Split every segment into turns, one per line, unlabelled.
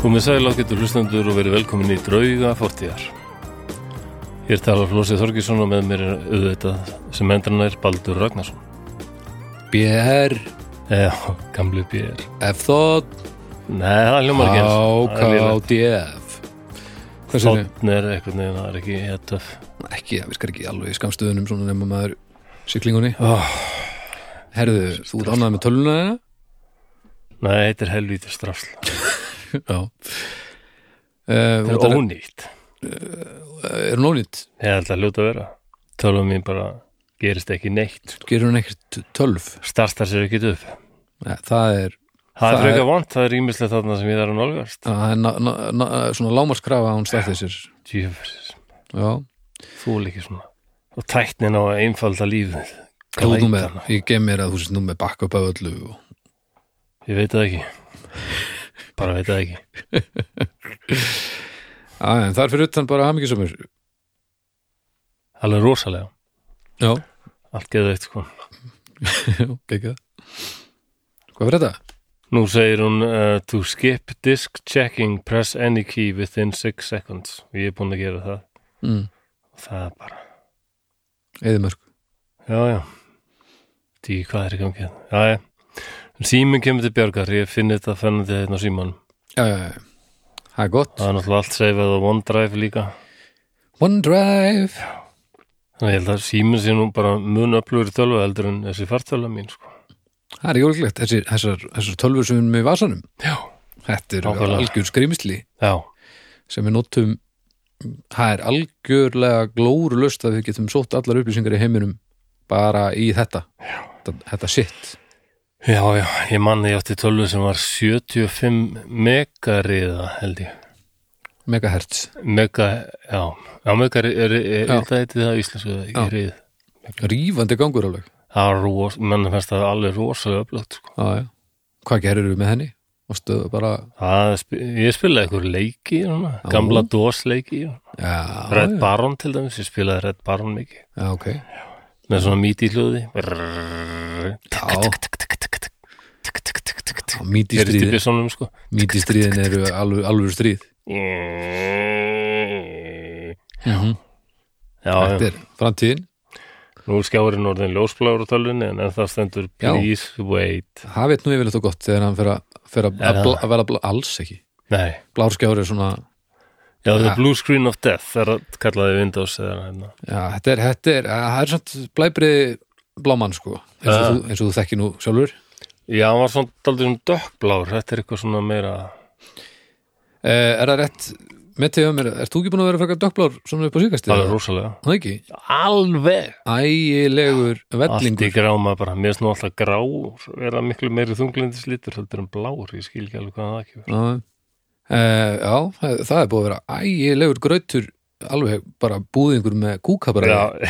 Komið sæl ágættur hlustendur og verið velkomin í drauga fortíðar. Hér talar Flósið Þorgísson og með mér er auðvitað sem endrana er Baldur Ragnarsson.
BR,
Já,
Eh,
gamlu BR.
F-þótt,
Nei, það hljómar ekki. eins. Það er lélegt.
HKDF. Hvað sér þið?
Þ er einhvern veginn, það er ekki E hér töff.
Ekki, það virkar ekki alveg í skamstöðunum svona nema maður siglingunni.
Oh.
Herðu, þú ert ánægð með töluna þeirna?
Nei, þetta er helvítið strafsl.
Já. Uh,
Þetta er ónýtt.
Eh, er hún ónýtt?
Ég held að hljóta að vera. Tölum mín bara gerist ekki neitt.
Gerur hún ekkert tölv?
Startar sér ekki upp.
Nei, það er,
Það
Það
er
er-
frekar vant, það er ímislegt þarna sem ég þarf að nálgast.
það er na, na, na, svona lámarskrafa að hún stætti sér.
Tjöfis,
Já,
þú líki svona. Og tæknin á að einfalda lífið.
hvað þú með?
Glæpana.
Ég gem mér að þú sést nú með bakka upp af öllu og
Ég veit það ekki Bara veit það ekki
Já, en það er fyrir utan bara hamingisömmur.
Alveg rosalega,
Já,
allt geða eitt sko
ekki Hvað fyrir þetta?
Nú segir hún uh, To skip disk checking press any key within 6 seconds Ég er búinn að gera það
Mm.
Það er bara,
Eðimörk.
já já Því hvað er í gangi hérna? Já já Síminn kemur til bjargar, ég finn þetta fennandi hérna á símanum.
Já, já, já. Það er gott.
Það er náttúrulega allt seifað á OneDrive líka
OneDrive.
Þannig að ég held að síminn sé nú bara mun öflugur í tölva heldur en þessi fartölva mín sko
Það er jólglegt. Þessir, þessar, þessar tölfur sem við erum með í vasanum.
Já
Þetta er
Nákvæmlega.
algjör skrimsli
Já,
sem við notum. Það er algjörlega glórulöst að við getum sótt allar upplýsingar í heiminum bara í þetta. Þetta, þetta sitt.
já, já, ég manni ég átti tölvu sem var 75 megariða held ég
Megahertz.
Mega, já, já mega er, er, er
Já.
það heiti það í íslensku í
Já.
rið.
Rífandi gangur alveg.
Það er ros, menn fannst það alveg rosalega öflugt, sko.
Já, já. Hvað gerir við með henni? Og stöðu bara...
Það, er spi- ég spilaði einhver leiki, svona, gamla DOS-leiki,
Já,
Red
já.
Baron til dæmis, ég spilaði Red Baron mikið,
já, ok.
með svona míti hljóði.
Já, mítið
Gerist í
stríðin,
byssunum, sko.
mítið stríðin eru alveg, alveg stríð. Mm
Já,
Þetta
já,
er framtíðin.
nú er skjáurinn orðin ljósbláur á tölunni, en en það stendur
Já.
please wait.
Það veit nú yfirleitt og gott þegar hann fer að, fer að,
Er
að,
það?
bla, að vera bla, alls ekki.
Nei,
Blárskjári er svona,
já, það
Ja.
er blue screen of death, það er að kallaði Windows eða hérna.
já, þetta er, þetta er, að, það er samt blæbriði blámann sko, eins og,
Já.
þú, eins og þú þekki nú sjálfur.
Já, hann var svona daldið svona dökkblár, þetta er eitthvað svona meira
Eh, er það rétt, með til mér, ert þú ekki búin að vera frekar dökkblár svona upp á síkastíð?
alveg rosalega.
Það ekki?
Alveg!
Ægilegur
Allt í
vellingur.
gráma bara, mér finnst nú alltaf grár vera miklu meiri þunglindislítur heldur en blár, ég skil ekki alveg hvað það ekki verið.
Já, eh, já, það það er búið að vera ægilegur grautur, alveg bara búðingur með kúkabræði.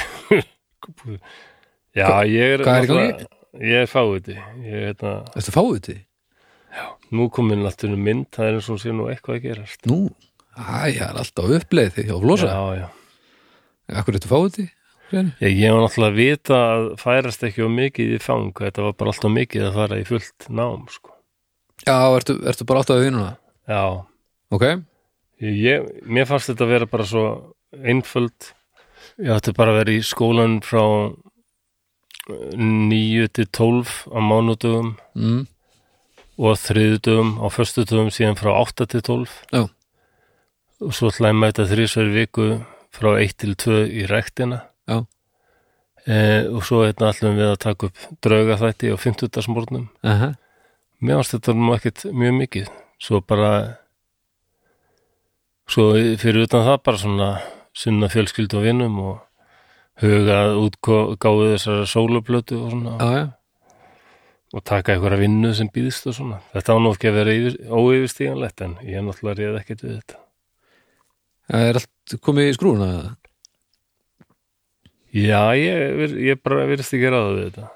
Já, já, ég er
Hvað er í gangi?
náttúrulega- Ég er fáiði, ég er hérna,
Þetta fáið til?
nú komin alltaf mynd, það er eins og hún sé nú eitthvað að gerast.
Nú, æ, það er alltaf uppleið því á flosa.
Já, já.
Akkur þetta fáið til? Sveinu?
Ég, ég var náttúrulega að vita að færast ekki á mikið í fang, þetta var bara alltaf mikið að fara í fullt nám, sko.
Já, ertu, ertu bara átt að við núna?
Já,
Ok,
Ég, mér fannst þetta að vera bara svo einföld. Ég ætti bara að vera í skólan frá eh, 9 til 12 á mánudögum
mm,
og þriðudögum á föstudögum síðan frá 8 til 12
Já.
og svo ætlaði ég mæta þrísverju viku frá 1 til 2 í rektina
Já.
Eh, og svo hérna ætlum við að taka upp draugaþætti á 50. smórnum
aha,
Mér fannst þetta nú ekkert mjög mikið svo bara svo fyrir utan það bara svona sunna fjölskyldu og vinnum og hugað útgáðu þessara sóluplötu og svona
já, já,
og taka einhverja vinnu sem býðist og svona þetta án og ekki að vera yfir, óyfirstíganlegt en ég náttúrulega réð ekkert við þetta
það er allt komið í skrúna eða?
Já, ég, vir- ég bara virðist ekki ráða við þetta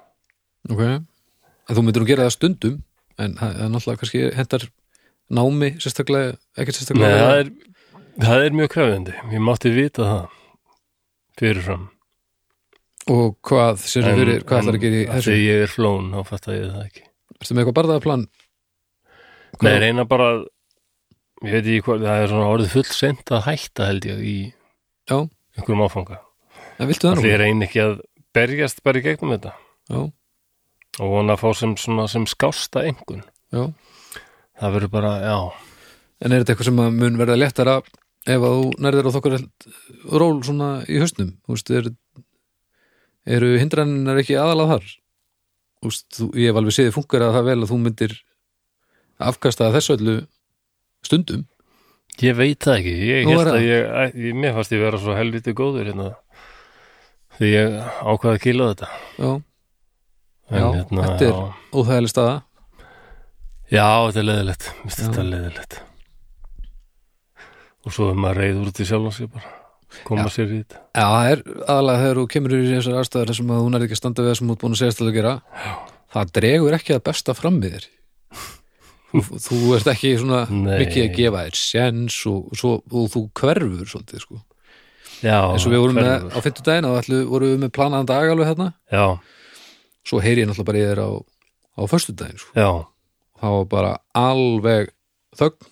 Ok, en þú myndir nú gera það stundum en það það er náttúrulega kannski hendar námi sérstaklega, ekkert
Nei,
sérstaklega
það er, það er mjög krefjandi ég mátti vita það fyrirfram
og hvað sérðu fyrir, hvað ætlar að gera í þessu?
Þegar ég er flón, þá fattar ég það ekki
Ertu með eitthvað barðaðaplan?
Nei, reyna bara að ég veit ekki hvað, það er svona orðið full sent að hætta held ég í
Já.
einhverjum áfanga.
en viltu það
Því
nú?
ég reyni ekki að berjast bara í gegnum þetta
Já,
og vona að fá sem, svona, sem skásta engun.
já.
Það verður bara, já,
En er þetta eitthvað sem að mun verða léttara ef að þú nærðir á þokkar ról svona í hausnum? Þú veist, er, eru hindranir ekki aðalað þar? Þú veist, þú, ég hef alveg séði funkar að það vel að þú myndir afkasta þessu öllu stundum.
ég veit það ekki. Ég
Nú
held
er
að
það.
ég, æ- ég, mér fannst ég vera svo helviti góður hérna því ég ákvaði að kýla þetta.
Já,
En,
Já,
hérna,
þetta er- óþægileg staða.
Já, þetta er leðilegt. Mér finnst
Já.
þetta leðilegt. Og svo er maður reyð úr þetta sjálf og sér bara. Koma sér í þetta.
Já, það er aðalega þegar þú kemur í þessar aðstæður þessum að þú nærði ekki að standa við þessum út búin að segja stæðu að gera. Já. Það dregur ekki að besta fram við þér. þú, þú ert ekki svona
Nei.
mikið að gefa þér sjens og, og, svo, og þú hverfur svolítið sko.
Já,
eins og við vorum með,
hverfur.
á fimmtudaginn og ætlu, vorum við með planaðan dag alveg hérna
Já,
svo heyri ég náttúrulega bara í þér á, á föstudaginn sko.
já.
það var bara alveg þögn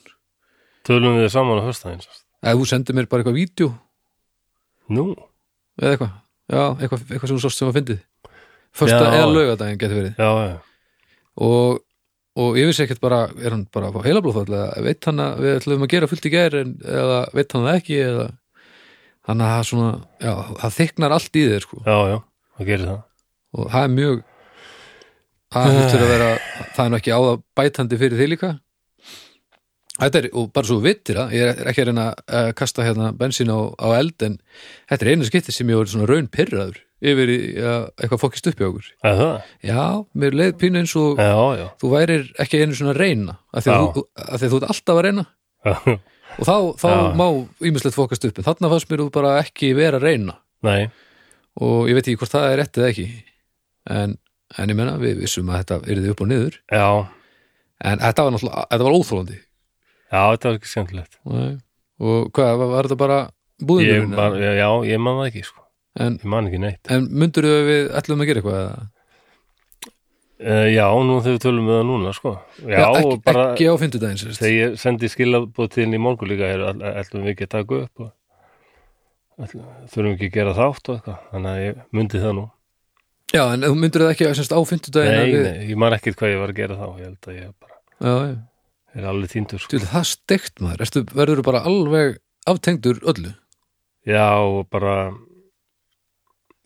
Tölum við saman á höstæðins.
eða þú sendir mér bara eitthvað vídeo
Nú,
eða eitthvað, já, eitthvað, eitthvað sem þú sást sem að fyndið fösta
Já.
eða laugardaginn getur verið
já, já.
og, og ég vissi ekkert bara er hann bara á heilablóðfall eða veit hann að við ætlum að gera fullt í gær en, eða veit hann það ekki eða þannig að það svona, já, það þyknar allt í þér sko.
Já, já, það gerir það.
og það er mjög það hlutur að vera það er nú ekki áða bætandi fyrir þig líka þetta er, og bara svo þú vittir það ég er ekki að reyna að kasta hérna bensín á, á eld en þetta er einu skipti sem ég voru svona raun pyrraður yfir í að eitthvað fókist upp í okkur
Er það?
já, mér leið pínu eins og
Já, já.
þú værir ekki einu svona að reyna af því að,
Já.
þú, af því að þú ert alltaf að reyna
Já,
og þá, þá
Já.
má ímislegt fókast upp en þarna fannst mér þú bara ekki vera að reyna
Nei,
og ég veit ekki hvort það er rétt eða ekki en, en ég menna við vissum að þetta yrði upp og niður
já,
en þetta var náttúrulega, þetta var óþólandi
já, þetta var ekki skemmtilegt.
og hvað, var, var þetta bara
Ég
búðinurinn?
bara, já, ég man það ekki, sko.
En,
Ég man ekki neitt.
en mundur þau að við ætlum að gera eitthvað? eða?
Uh, já, nú þegar við tölum við það núna, sko. Já,
ekki,
og bara,
ekki á fimmtudaginn sem sagt.
þegar ég sendi skilabóð til henni í morgun líka, er, all- ætlum við ekki að taka upp og ætlum, þurfum við ekki að gera þátt og eitthvað. Þannig að ég myndi það nú.
Já, en þú mundur þau ekki sem sagt, á fimmtudaginn
Nei,
að við,
nei, ég man ekkert hvað ég var að gera þá. Ég held að ég bara,
Já, já,
er alveg týndur, sko.
Þú veit, það steikt maður Ertu, verður þú bara alveg aftengdur öllu
Já, og bara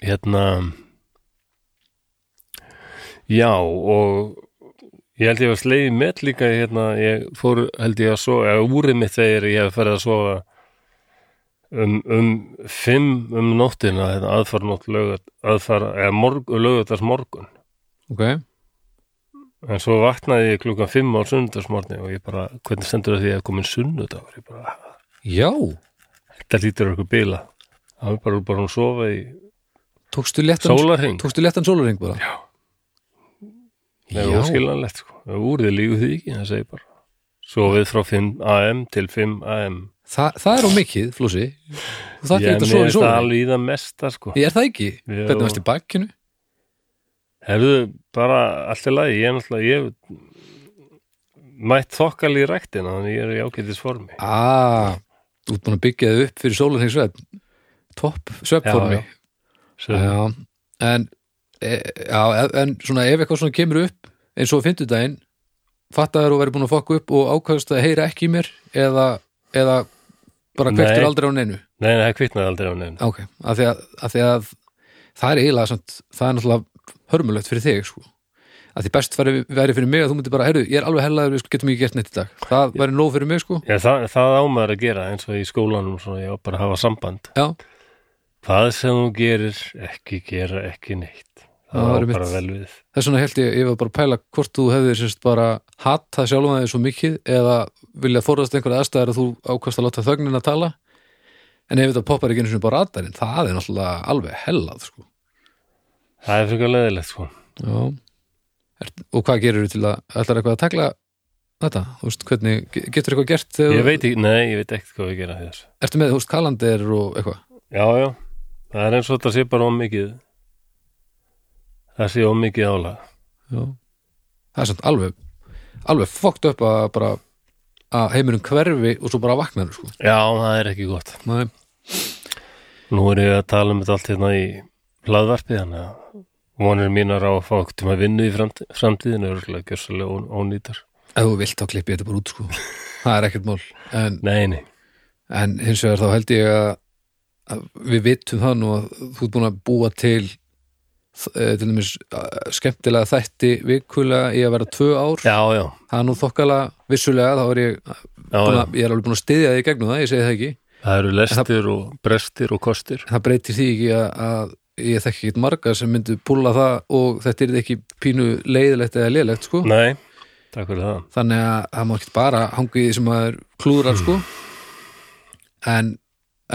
hérna já og ég held ég var slegið með líka hérna, ég fór held ég að sofa eða úrið mitt þegar ég hef ferið að sofa um, um fimm um nóttina hérna, aðfara nótt laugat aðfara, eða morg, laugatars morgun
Ok,
en svo vaknaði ég klukkan fimm á sunnudagsmorni og ég bara, hvernig stendur það því að komin sunnudagur, ég bara
já
þetta lítur eitthvað bila það var bara, bara hún sofa í
Tókstu léttan,
sólarhing
tókstu léttan sólarring bara? Já
Nei, það er skiljanlegt sko. Úrðið lígu því ekki, það segir bara. Sofið frá 5 am til 5 am.
Þa, það er á mikið, Flósi Þú þarf ekki
Ég-
að
mér
sofa í
finnst það
sólarring
alveg í það mesta sko.
Ég er það ekki,
Jú.
hvernig varst í bakkinu
Herðu, bara allt í lagi, ég er náttúrulega, ég hef mætt þokkal í ræktina, þannig ég er í ágætis formi.
Ah, þú ert búin að byggja þið upp fyrir sólarhengsvefn Topp svefnformi
Já,
Já,
Svo,
En, e, já, en svona ef eitthvað svona kemur upp eins og á fimmtudaginn fattaður og verið búin að fokka upp og ákvæðast að heyra ekki í mér eða, eða bara
Nei.
kvektur aldrei á neinu
Nei, nei, það kvitnaði aldrei á nefn.
Ok, af því að, af því að það er eiginlega samt, það er náttúrulega hörmulegt fyrir þig sko að því best væri, væri fyrir mig að þú myndir bara, heyrðu, ég er alveg hellaður við sko, getum ekki gert neitt í dag, það væri nóg fyrir mig sko
Já, það, það ámaður að gera eins og í skólanum, svona, ég á bara að hafa samband.
Já,
Það sem þú gerir, ekki gera, ekki neitt. Það,
Það
það
var
á bara
mitt.
vel við.
þess vegna held ég, ég var bara að pæla hvort þú hefðir sérst bara hattað sjálfum aðeins svo mikið eða vilja forðast einhverja aðstæðar að þú ákast að láta þögnin að tala en ef þetta poppar ekki einu sinni bara aðdærin, það er náttúrulega alveg hellað sko
Það er frekar leðilegt sko.
Já er, Og hvað gerir þú til að, ætlar eitthvað að takla þetta, þú veist, hvernig getur eitthvað gert þegar
Ég
þú-
veit ekki, nei, ég veit ekkert hvað ég gera þess.
Ertu með, þú veist, kalandir og eitthvað?
Já, já, það er eins og þetta sé bara ómikið það sé ómikið álag
Já. Það er samt alveg, alveg fókt upp að bara að heimurinn hverfi og svo bara vaknar sko.
Já, það er ekki gott.
Nei,
Nú er ég að tala um þetta allt hérna í hlaðvarpið hann að vonir mínar á að fá okkur til að vinna í framtíð, framtíðinu örgulega gjössalega ón, ónýtar.
ef þú vilt þá klippi ég þetta bara út sko. það er ekkert mál en,
Nei, nei.
en hins vegar þá held ég að, að við vitum það nú að þú ert búin að búa til eh, til dæmis eh, skemmtilega þætti vikulega í að vera tvö ár
Já, já.
það er nú þokkala vissulega þá er ég,
já,
búin
já.
að, ég er alveg búin að styðja því gegnum það, ég segi það ekki
Það eru lestir og brestir og kostir.
það breytir því ekki að, að ég þekki ekkert marga sem myndu púla það og þetta er ekki pínu leiðilegt eða leiðilegt sko
Nei, takk fyrir það.
þannig að það má ekki bara hanga í því sem maður klúrar sko en,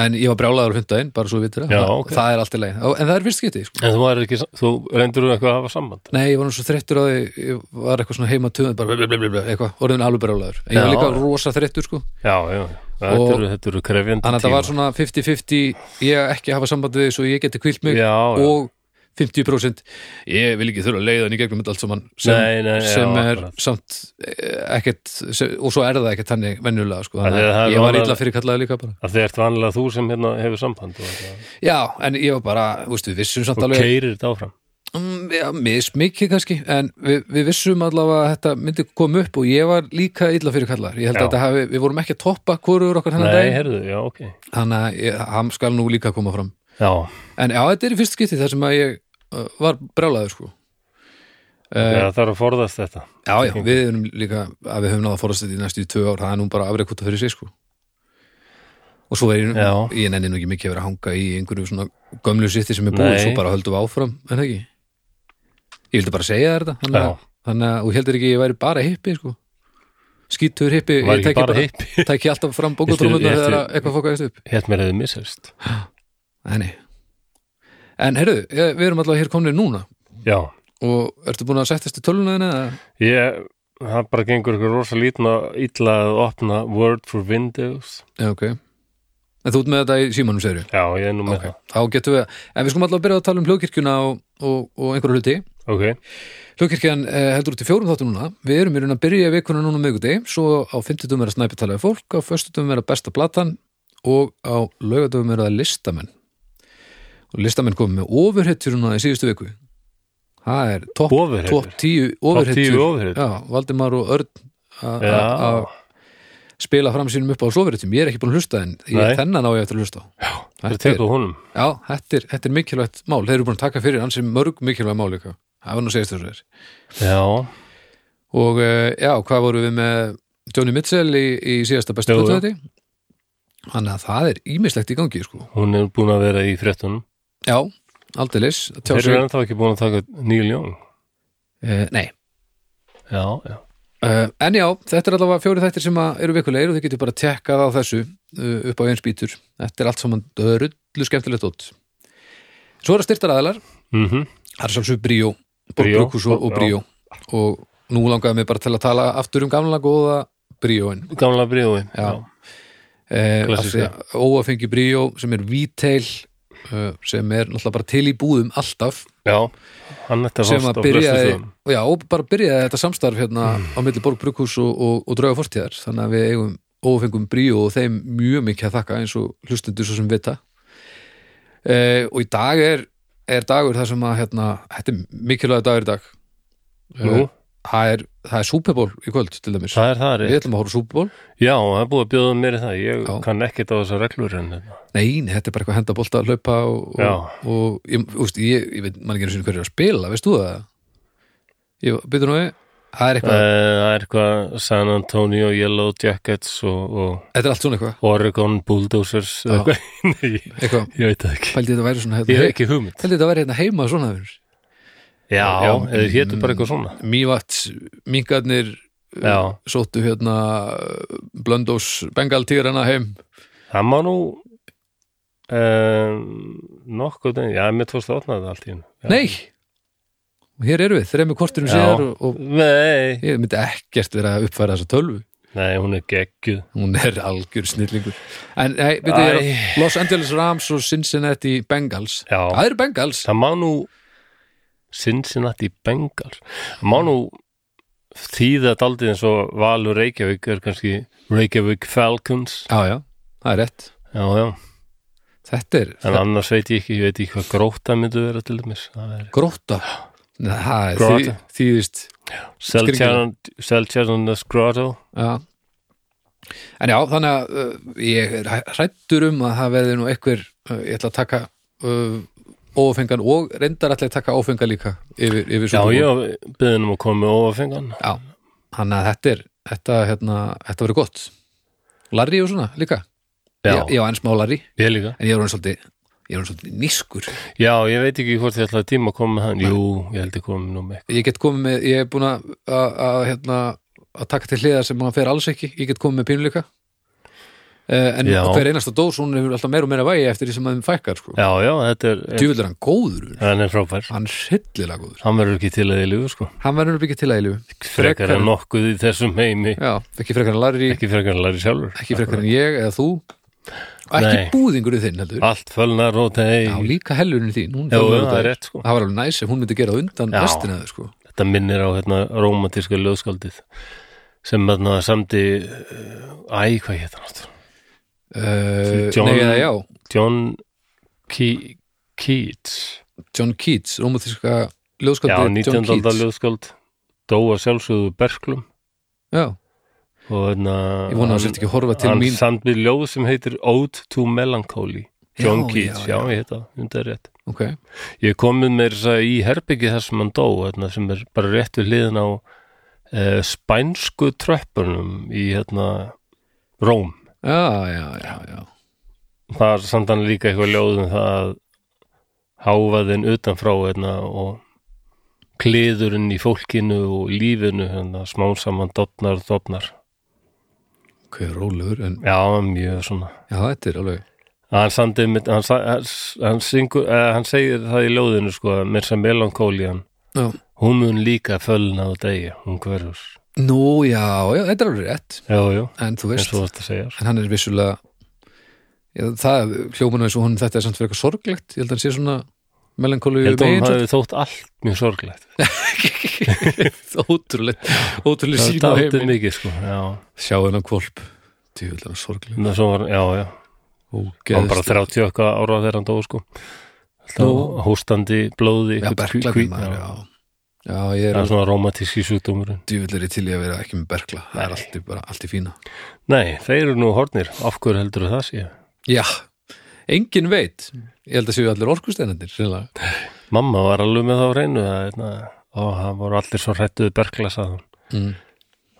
en ég var brjálaður á hundaginn, bara svo við vitur það
Já, ok.
það er allt í leið, en það er fyrst getið sko.
En þú, er ekki, þú reyndur þú eitthvað að hafa samband?
nei, ég var nú svo þreyttur á því ég var eitthvað svona heima töðum bara blablabla, eitthvað, orðin alveg brjálaður en ég var
Já.
líka rosa þreyttur sko
Já, já. já. Þetta
Og-
eru, þetta eru krefjandi
þannig að það var svona 50-50 ég ekki hafa samband við því svo ég geti kvilt mig
Já, já.
og 50% ég vil ekki þurfa að leiða hann í gegnum þetta allt saman sem,
Nei, nei, já,
sem er
akkurat.
samt eh, ekkert sem, og svo er það ekkert þannig venjulega sko, þannig
Af því að
að
það er
ég var
vanlega-
illa fyrir kallaði líka bara
Að þið ert vanlega þú sem hérna hefur samband og, þetta.
já, en ég var bara, þú veist, við vissum samt
og
alveg
keirir þetta áfram.
mm, já, mismikið kannski en við, við vissum allavega að þetta myndi koma upp og ég var líka illa fyrir kallaðar ég held
Já.
að þetta hafi, við vorum ekki að toppa hvorur okkar hennar
Nei,
dag
heyrðu, já, ok.
þannig að ég- hann skal nú líka koma fram
Já,
En já, þetta er í fyrst skipti þar sem að ég uh, var brjálaður sko.
já, það er að forðast þetta.
Já, já, við erum líka að við höfum náða fórast þetta í næstu tvö ár, það er nú bara afreikúta fyrir sig sko. Og svo er ég,
Já.
ég nenni nú ekki mikið að vera að hanga í einhverju svona gömlu sitti sem er búið,
Nei.
svo bara höldum við áfram, en það ekki. Ég vildi bara segja þér þetta, þannig
Já.
að, þannig að, og heldur ekki að ég væri bara hippi sko. Skítur hippi, ég
Var ekki
tæki
bara
bara,
hippi?
tæki alltaf fram
Ég
bókutrómunar
eftir-
þegar að eitthvað fókaðist upp.
Hétt mér hefði missast.
Nei. En heyrðu, eh, við erum allavega hér komnir núna.
Já.
og ertu búin að settast í tölvuna þína? eða?
Ég, það bara gengur ykkur rosa lítna illa að opna Word for Windows.
Já, ok. En þú ert með þetta í símanum, segir
Já, ég er nú með
Ok, þá getum við, en við skulum alltaf að byrja að tala um hljóðkirkjuna og, og, og einhverja hluti.
það. Ok,
Hljóðkirkjan eh, heldur út í fjórum þáttu núna. Við erum í raun að byrja vikuna núna miðgudegi, svo á fimmtudum er að snæpi talaði fólk, á föstudum er að besta platan og á laugadum er að listamenn. Og listamenn komið með ofurhetturuna í síðustu viku. Það er topp
ofurhettur.
top 10
Top 10
ofurhettur.
ofurhettur.
Já, Valdimar og Örn að-
Já.
að að spila fram sínum upp á sofuritum, ég er ekki búin að hlusta en
Nei.
ég, þennan á ég eftir að hlusta á.
Það
Þetta er-
tekur honum.
Já, þetta er, þetta er mikilvægt mál, þeir eru búin að taka fyrir hans mörg mikilvægt mál líka, það var nú segist þessu þér
Já,
og eh, já, hvað voru við með Johnny Mitchell í, í síðasta bestu
Jú, jú.
plötu þetta þannig að það er ímislegt í gangi sko,
hún er búin að vera í fréttunum.
já, aldeilis að tjá
Þeir eru
sig,
ennþá ekki búin að taka Neil Young.
uh, nei
Já, já.
Uh, en já, þetta er allavega fjóri þættir sem að eru vikulegir og þið getur bara tekkað á þessu uh, upp á eins bítur. Þetta er allt saman rullu skemmtilegt út. Svo er að styrta ræðalar,
Mm
það er sjálfsög Bríó,
Bríó,
Borbrúkus og, og
já.
Bríó og nú langaði mig bara til að tala aftur um gamla góða Bríóin.
Gamla bríðuði.
Já. Eh, af því
Klassíska.
að Óafengi Bríó sem er víteil uh, sem er náttúrulega bara til í búðum alltaf
Já, hann þetta
sem
fast
að
á
byrjaði
flestum Mm. stöðum.
já, og bara byrjaði þetta samstarf hérna á milli Borg Brukhus og, og, og drauga fortíðar þannig að við eigum ófengum bríu og þeim mjög mikið að þakka eins og hlustendur svo sem vita eh, og í dag er, er dagur þar sem að hérna, þetta er mikilvæg dagur í dag Eh,
Nú,
það er, það er Super Bowl í kvöld til dæmis
það er það
við
rétt.
ætlum að horfa á Super Bowl
Já, það er búið að bjóða mér í það. Ég
Já.
kann ekkert á þessar reglur en hérna. þetta.
nei, nei, þetta er bara eitthvað henda bolta að hlaupa og,
Já.
og, og ég, úst, ég, ég veit mann ekki einu sinni hverju er að spila, veist þú það? ég byrður nú við það er
Eh,
eitthvað,
Það er eitthvað San Antonio Yellow Jackets og, og
þetta er allt svona eitthvað
Oregon Bulldozers eða eitthvað. Nei,
eitthvað
ég veit það ekki.
Pældi þetta væri svona
Ég
hérna,
hef ekki hugmynd.
Pældi þetta væri hérna heima svona vinur.
Já,
Já.
eða hétu bara eitthvað svona.
Mývats, mingarnir
Já,
eh, sóttu hérna uh, Blöndós Bengal tígrana heim
það má nú um, nokkuð, já, mér tókst að opna þetta allt í hennu.
Nei! Og hér eru við, þremur korturum
Já.
síðar og, og
Nei,
ég myndi ekkert vera að uppfæra þessa tölvu
nei, hún er geggjuð.
Hún er algjör snillingur En nei, byrju ég er
Æ.
á Los Angeles Rams og Cincinnati Bengals
Já,
Það eru Bengals
það má nú Cincinnati Bengals. Það má nú þýða daldið eins og Valur Reykjavík er kannski Reykjavík Falcons
já, já, það er rétt
já, já,
þetta er
en annars veit ég ekki ég veit ekki hvað gróta myndu vera til dæmis það er
gróta Nei, það er
Grótta.
þý- þýðist
Seltjarnas Grotto
Já. En já, þannig að uh, ég er hrættur um að það veði nú einhver, uh, ég ætla að taka uh, ófengan og reyndar ætla ég að taka ófengan líka yfir, yfir
já,
Super Bowl.
já, byðinum að koma með óafengan
Já, hann að þetta er, þetta, hérna, þetta verið gott. Larry og svona líka.
já,
Ég, ég á enn smá Larry,
ég líka
en ég er hann svolítið, ég er hann svolítið nískur.
já, ég veit ekki hvort ég ætlaði tíma að koma með hann jú, ég held ég komið nú með
Ég get komið með, ég er búin að, að, að, hérna, að taka til hliðar sem hann fer alls ekki, ég get komið með pínuleika. Uh, en
Já.
hver einasta dós, hún hefur alltaf meira og meira vægi eftir því sem að þeim fækkar, sko.
já, já, þetta er
Djúvill er hann góður vinur.
hann er frábær
Hann er hryllilega góður
hann verður ekki til að ég lífu sko
Hann verður nú ekki til að í lífu
frekar en nokkuð í þessum heimi
Já, ekki frekar en Larry,
ekki frekar en læri sjálfur
ekki frekar en ég eða þú Og Ekki
Nei.
búðingurinn þinn heldur
allt fölnar og
Já,
þeir
líka hellurinn þín Hún
Já,
fór
það
auðvitað-
er rétt, sko.
Það var alveg næs ef hún myndi gera það undan
Já.
restina þau sko
þetta minnir á hérna rómantíska ljóðskaldið sem þarna samdi eh, æ, hvað hétt hann aftur
uh,
John-
Nei, eða já,
John Ke Keats
John Keats Rómatíska
já,
ljóðskaldið John
19. aldar
Keats
ljóðskald dóa sjálfsögðu berklum
Já,
og hérna
ég vona að það sért ekki að horfa til
hann
mín
samdi ljóð sem heitir Ode to Melancholy John
Já,
Keats, já,
já,
ég heit það, þetta er rétt
Ok,
Ég komið mér þess að í herbyggi þar sem hann dó, hérna, sem er bara rétt við hliðin á e, spænsku tröppunum í hérna, Róm.
já, já, já, já
Það er samt hann líka eitthvað ljóðum það að háfaðin utanfrá hérna, og kliðurinn í fólkinu og lífinu, hérna, smán saman dofnar og dofnar.
Ok, rólegur, en
Já, mjög svona.
já, þetta er alveg
Hann, samdi, einmitt- hann, sa- hann, hann, syngur, eh, hann segir það í ljóðinu, sko, að mér sem melankólian,
Já
hún mun líka fölna á degi, hún hverfur.
Nú, já, já, þetta er alveg rétt
Já, já.
En þú
eins
veist
og þetta segja sko.
en hann er vissulega já, það hljóman eins og honum þetta er samt fyrir eitthvað sorglegt ég held að hann sé svona melankólu
ég held að hún
megin sko.
hafi þótt allt mjög sorglegt
ótrúlega, ótrúlega
það er
sína á
dáttið
heiminn
mikið sko já,
sjá hennan kvolp djúvill hann sorglegt
það svo var, já, já, hann bara 30 okkar ára þegar hann dó sko Þá
Nú.
hóstandi blóði
já,
einhvern hví-
berkla
hví-
maður,
já.
já. já, ég
það er
er
svona romantíski sjúkdómurinn
djúvill er ég til í að vera ekki með berkla það er
Nei.
allt í, bara, allt í fína
nei, þeir eru nú hornir, af hverju heldur það sé
já, engin veit
Mm.
ég held að séu allir orkusteinandir já,
mamma var alveg með það á reynu það, hérna, og það voru allir svo hrættuðu berkla sagðan
Mm.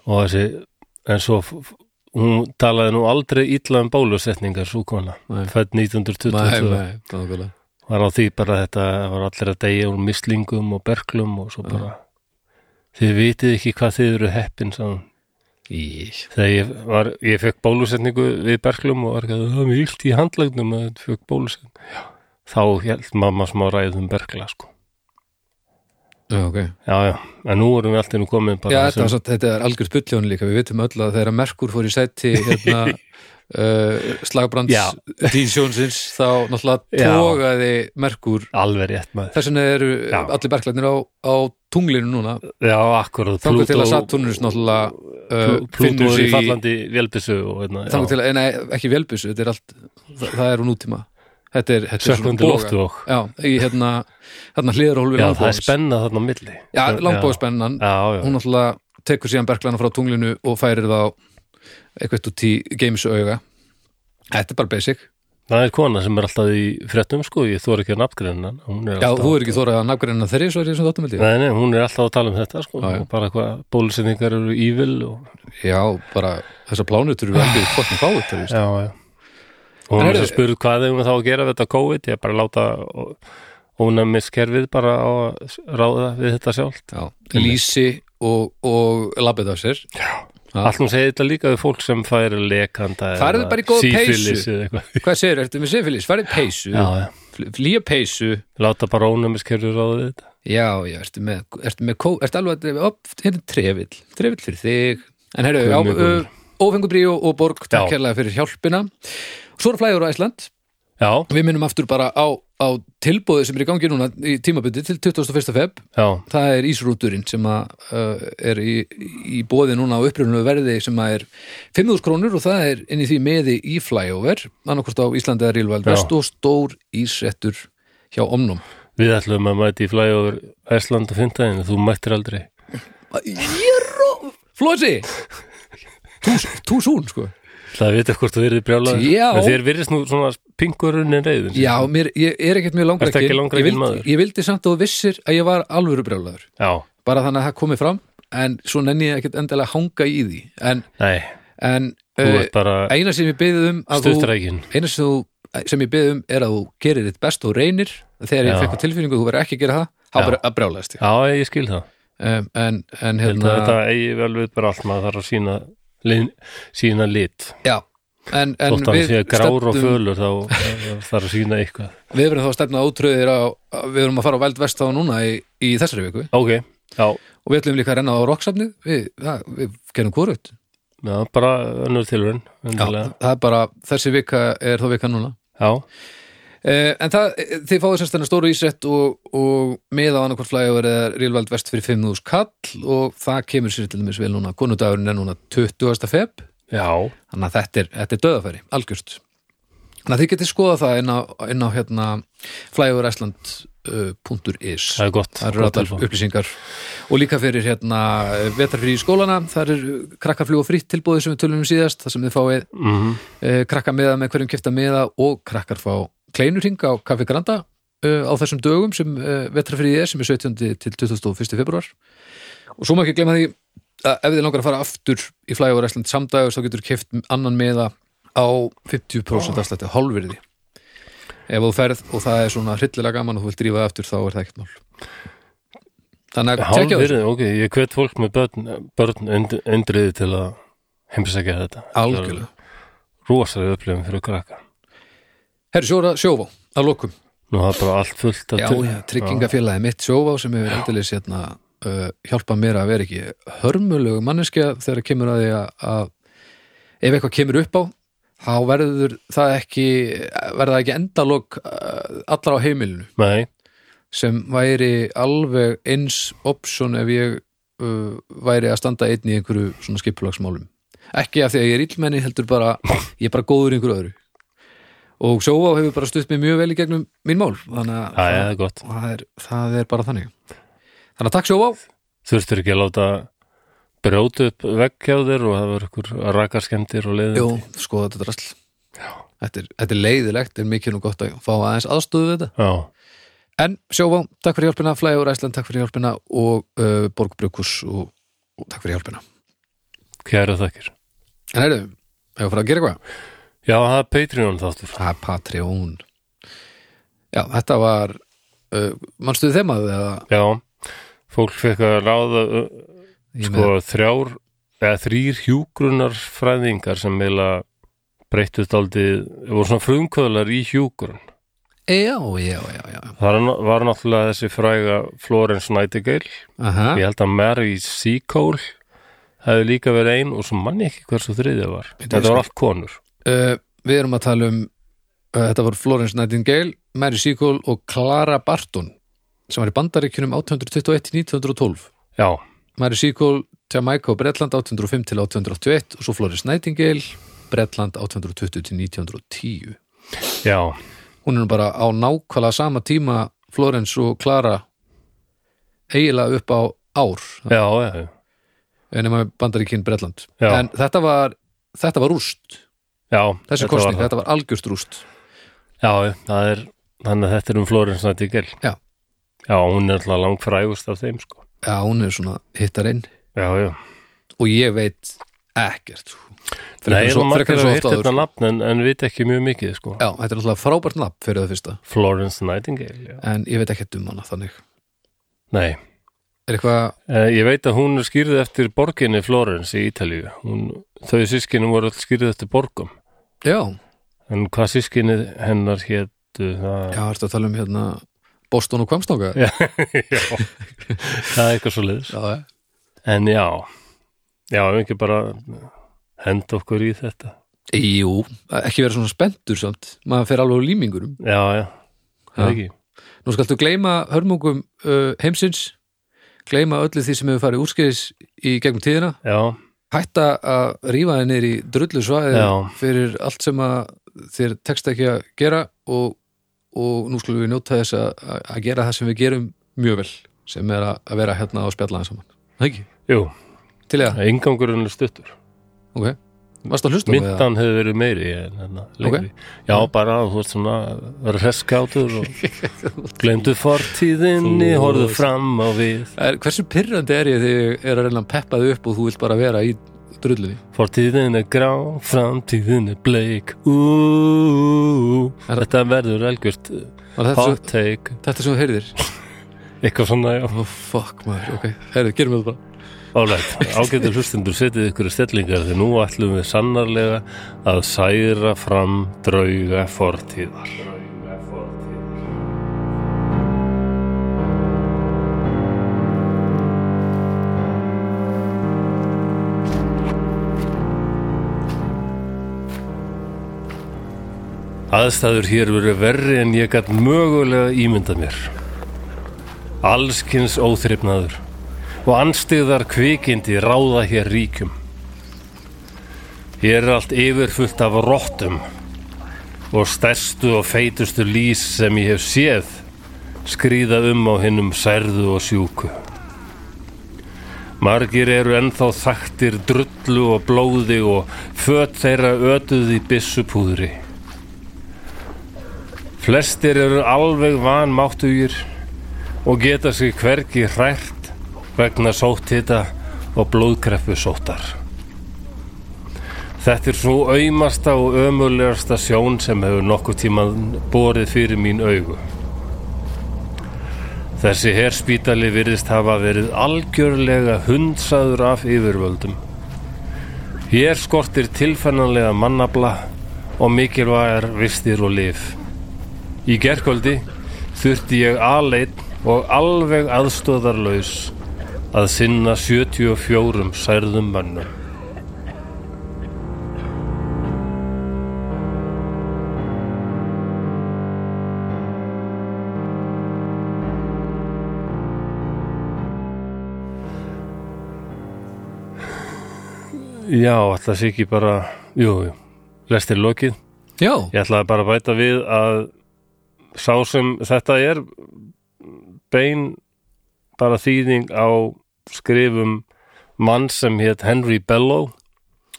og þessi, en svo f- f- hún talaði nú aldrei illa um bólusetningar svo kona,
Nei.
fætt 1922 var á því bara að þetta var allir að deyja úr mislingum og berglum og svo bara þið vitið ekki hvað þið eru heppin sagði. hún. þegar ég var, ég fekk bólusetningu við berglum og var ekki að það var mjög illt í handlagnum að þetta fekk bólusetningu þá held mamma smá ræðum bergla sko.
já, ok
já, já, en nú erum við alltaf nú komin bara
Já,
að
þetta, var, satt- þetta er algjörð bulljónu líka, við vitum öll að þegar Merkur fór í sæti hérna, uh,
Já.
slagbrands dísjónsins, þá náttúrulega
Já.
tógaði Merkur
alveg rétt maður
þess vegna eru
Já.
allir berklarnir á, á tunglinu núna,
já, akkurat,
þangur til að Saturnus náttúrulega uh,
Plútó
finnur
er í
sig í
fallandi vélbissu og hérna,
þangur
já,
til að, nei, ekki velbissu, þetta er allt það, það er úr nútíma þetta er, þetta er
sökkundi loftu og
Já, í hérna, hérna hlýðarhólfi
já, það er spenna þarna á milli
Já, langbóðspennan
já, já,
hún náttúrulega tekur síðan berglana frá tunglinu og færir þá eitthvað út í gamesauga Þetta er bara basic
Það er kona sem er alltaf í fréttum sko, ég þóra ekki að nafngreina hann. hún er
Já,
alltaf,
þú er ekki þórað að nafngreina þeirri svo er ég sem þáttum held ég
nei, nei, hún er alltaf að tala um þetta sko,
Já, já.
og bara hvað bólusetningar eru ívil og,
Já, bara þessar plánutur eru ekki fóttin fáið til
já, já. og hún
En
er
heyrðu-
að spurðu hvað þegar við þá að gera við þetta COVID, ég bara láta ónæmiskerfið bara á að ráða við þetta sjálft
Já, Lísi og, og labbið af sér Já.
Allt hún segir þetta líka við fólk sem fær lekanda
Farið
eða
bara í góða
sífilis
peysu.
eða eitthvað.
Hvað segir, ertu með syfilis? Farið peysu,
Já, já.
fl- flýja peysu
Láta bara ónæmiskerfið ráða við þetta
Já, já, ertu með, ertu með kó, ertu alveg að, op, hérna er trefill, trefill fyrir þig En herru, já,
Guð minn góður.
uh, ófengubríu og borg, takk
Já.
hérlega fyrir hjálpina Svo er flæður á Æsland
Já,
Við minnum aftur bara á á tilbúði sem er í gangi núna í tímabundi til 21. feb
já,
það er ísrúturinn sem að, uh, er í, í bóði núna á uppröfnum verði sem að er 5.000 krónur og það er inn í því meði í flyover annarkvort á Íslandi eða Rílvæld
Já.
vest og stór ísrettur hjá omnum
við ætlum að mæti í flæði over Æsland og fyndaðin, þú mættir aldrei
Jéró, Flósi tú sún sko
Það veit hvort þú verið brjálaður
Já.
En Þér virðist nú svona pingurunin reyðin
já, mér, ég er ekkert mjög
Ertu
langrækkin
ekki langrækinn
ég, vildi-
maður?
ég vildi samt og vissir að ég var alvöru brjálaður
já,
bara þannig að það komi fram en svo nenni ég ekkert endilega að hanga í því en,
nei,
en
þú
uh,
ert bara
eina sem ég beðið um að þú,
stuttrækin
eina sem, þú, sem ég beðið um er að þú gerir þitt best og reynir þegar
Já.
ég fekk á tilfinningu að þú verður ekki að gera það þá
Já.
verður að brjálæðast ég
Já, ég skil það
um, en, en
Held að
hérna
þetta eigi vel við bara allt maður þarf að sína, lin, sína lit
já, en, en
Þótt hann sé grár og
stefnum-
fölur þá eh, þarf að sína eitthvað
við verðum þá að stefna ótröðir á á- við verðum að fara á Væld Vestá núna í, í þessari viku
Ok, já,
og við ætlum líka að renna á roksafnið við, það, við gerum hvorut
já bara önnur tilurinn Já,
það er bara, þessi vika er þá vika núna
já,
Uh, en það, eh, þið fáið semst þennan stóru ísrett og, og með á annarkvort flægur eða rílvæld vest fyrir 5.000 kall og það kemur sér til dæmis vel núna konudagurinn er núna 20. feb
já,
þannig að þetta er, þetta er döðafæri, algjörst þannig að þið getið skoða það inn á, inn á hérna eh, flæguræsland.is
það er gott
það eru
gott
allar
tilfá.
upplýsingar og líka fyrir hérna vetarfrí í skólana, þar er krakkafljú og fritt tilbúið sem við tölum um síðast, þar sem þið fáið
Mhm.
uh, krakka meða með hverjum kipta meða og krakkar fá kleinurhing á Kaffi Granda uh, á þessum dögum sem uh, vetrafriði er sem er 17. til 21. februar og svo má ekki glemma því að ef þið langar að fara aftur í flæg og resland samdægur þá getur kipt annan meða á 50% afslætti hálfvirði ef þú ferð og það er svona hryllilega gaman og þú vilt drífa það aftur þá er það ekkert mál þannig að tekja þessu
Hálfvirði, ok, ég hvet fólk með börn, börn und- undriði til að heimsækja þetta.
algjörlega
Rósalega upplifum fyrir krakka.
Herri, sjóra, sjóvá, að lokum
Nú það er bara allt fullt af
Já,
til-
já, tryggingafélagi mitt sjóvá sem hefur endilis hérna, uh, hjálpað mér að vera ekki hörmulegu manneskja þegar kemur að því að, að ef eitthvað kemur upp á þá verður það ekki verður það ekki endalok uh, allra á heimilinu
Nei,
sem væri alveg eins option ef ég uh, væri að standa einn í einhverju svona skipulagsmálum ekki af því að ég er illmenni heldur bara ég er bara góður í einhverju öðru og sjóvá hefur bara stutt mig mjög vel í gegnum mín mál þannig að
já, já, það er gott.
og það er, það er bara þannig þannig að takk sjóvá
Þurftur ekki að láta brjóta upp vegg hjá þér og hafa ykkur rakaskemdir og leiðið.
Jú, skoða þetta drasl þetta er, þetta er leiðilegt, er mikið nú gott að fá aðeins aðstöðu við þetta
Já,
en sjóvá, takk fyrir hjálpina, Flægur Æsland takk fyrir hjálpina og uh, Borgbrukus og, og takk fyrir hjálpina
kæra þakkir.
en heyrðu, hefur fyrir að gera eitthvað
Já, það er Patreon þáttur.
það er Patreon já, þetta var uh, mannstuðu þemað eða
Já, fólk fekk að ráða uh,
ég
sko þrjár eða þrýr hjúgrunarfræðingar sem meila breyttust aldrei, voru svona frumkvöðlar í hjúgrun.
með, já, já, já, já.
Það er- var náttúrulega þessi fræga Florence Nightingale,
Aha,
ég held að Mary Seacole hefði líka verið ein og svo manni ekki hversu þriðið var.
Þetta er
Þetta
sko-
var allt konur.
uh, við erum að tala um uh, þetta voru Florence Nightingale, Mary Seacole og Clara Barton sem var í bandaríkjunum 1821-1912
Já,
Mary Seacole, Jamaica og Bretland 1805-1881 og svo Florence Nightingale Bretland 1820-1910 Ah.
já,
hún er nú bara á nákvæmlega sama tíma Florence og Clara eiginlega upp á ár
já, já,
ennum að bandaríkjun Bretland
Já.
en þetta var, þetta var rúst
já.
þessi
þetta
kostning,
var það.
þetta var algjörst rúst
Já, já, það er, þannig að þetta er um Florence Nightingale.
Já.
Já, hún er alltaf langfrægust af þeim, sko.
já, hún er svona hittarinn
Já, já.
og ég veit ekkert sko.
Nei,
en
ég er margir
en
að
oft
hitt
áður.
þetta nafn en, en vit ekki mjög mikið, sko.
já, þetta er alltaf frábært nafn fyrir það fyrsta
Florence Nightingale, já.
en ég veit ekkert um hana þannig
Nei,
er eitthvað,
eh, ég veit að hún er skýrð eftir borginni Florence í Ítalíu. Hún, þau sískinum voru alls skýrð eftir borgum.
já,
En hvað sískinni hennar hétu það?
já, ertu að tala um hérna Boston og Kvamstóka
Já. það er eitthvað svo leiðis.
já, eh.
En já, já, ef ekki bara henda okkur í þetta.
jú, ekki vera svona spenntur samt maður fer alveg úr límingurum
Já, já, það ekki
Nú skaltu gleyma hörmungum uh, heimsins, gleyma öllu því sem hefur farið úrskeiðis í gegnum tíðina,
Já,
hætta að rífa þeir niður í drullu svæði
Já.
fyrir allt sem að þér tekst ekki að gera og, og nú skulum við njóta þess að, að- að gera það sem við gerum mjög vel, sem er að, að vera hérna og spjalla hans saman. Það Ekki?
jú,
Til eða?
yngangurinn er stuttur
Ok. Varst að hlusta á það?
Myndan hefði verið meiri en hérna, lengri. Já, bara að þú veist svona verið hresskátur og glemdu fortíðinni,
Þú-
horfðu fram á við
Er, hversu pyrrandi er ég þegar ég er að reyna að peppa þau upp og þú vilt bara vera í drullunni?
Fortíðin er grá, framtíðin er bleik Úúúú
Er-
Þetta verður algjört
Var þetta,
hot
svo,
take
þetta sem þú heyrðir?
Eitthvað svona, já,
Oh, fuck maður, ok, herrið, gerum við það bara
álægt Ágættur hlustendur setið ykkur í stellingar því nú ætlum við sannarlega að særa fram drauga fortíðar Drauga fortíðar Aðstæður hér veru verri en ég gat mögulega ímyndað mér. Allskins óþrifnaður og anstigðar kvikindi ráða hér ríkjum. Hér er allt yfirfullt af rottum og stærstu og feitustu lýs sem ég hef séð skrýða um á hinnum særðu og sjúku. Margir eru ennþá þaktir drullu og blóði og föt þeirra ötuð í byssupúðri. Flestir eru alveg vanmáttugir og geta sig hvergi hrært vegna sóttita og blóðkreppu sóttar. Þetta er svo auðmasta og ömulegasta sjón sem hefur nokkuð tíma borið fyrir mín augu. Þessi herspítali virðist hafa verið algjörlega hundsaður af yfirvöldum. Hér skortir tilfennanlega mannabla og mikilvægar vistir og lif. Í gerkvöldi þurfti ég aðleitt og alveg aðstóðarlaus að sinna 74 særðum mönnum. Já, ætla sé ekki bara, jú, jú, lestir lokið.
Já,
Ég ætlaði bara að bæta við að sá sem þetta er bein bara þýðing á skrifum mann sem hétt Henry Bellow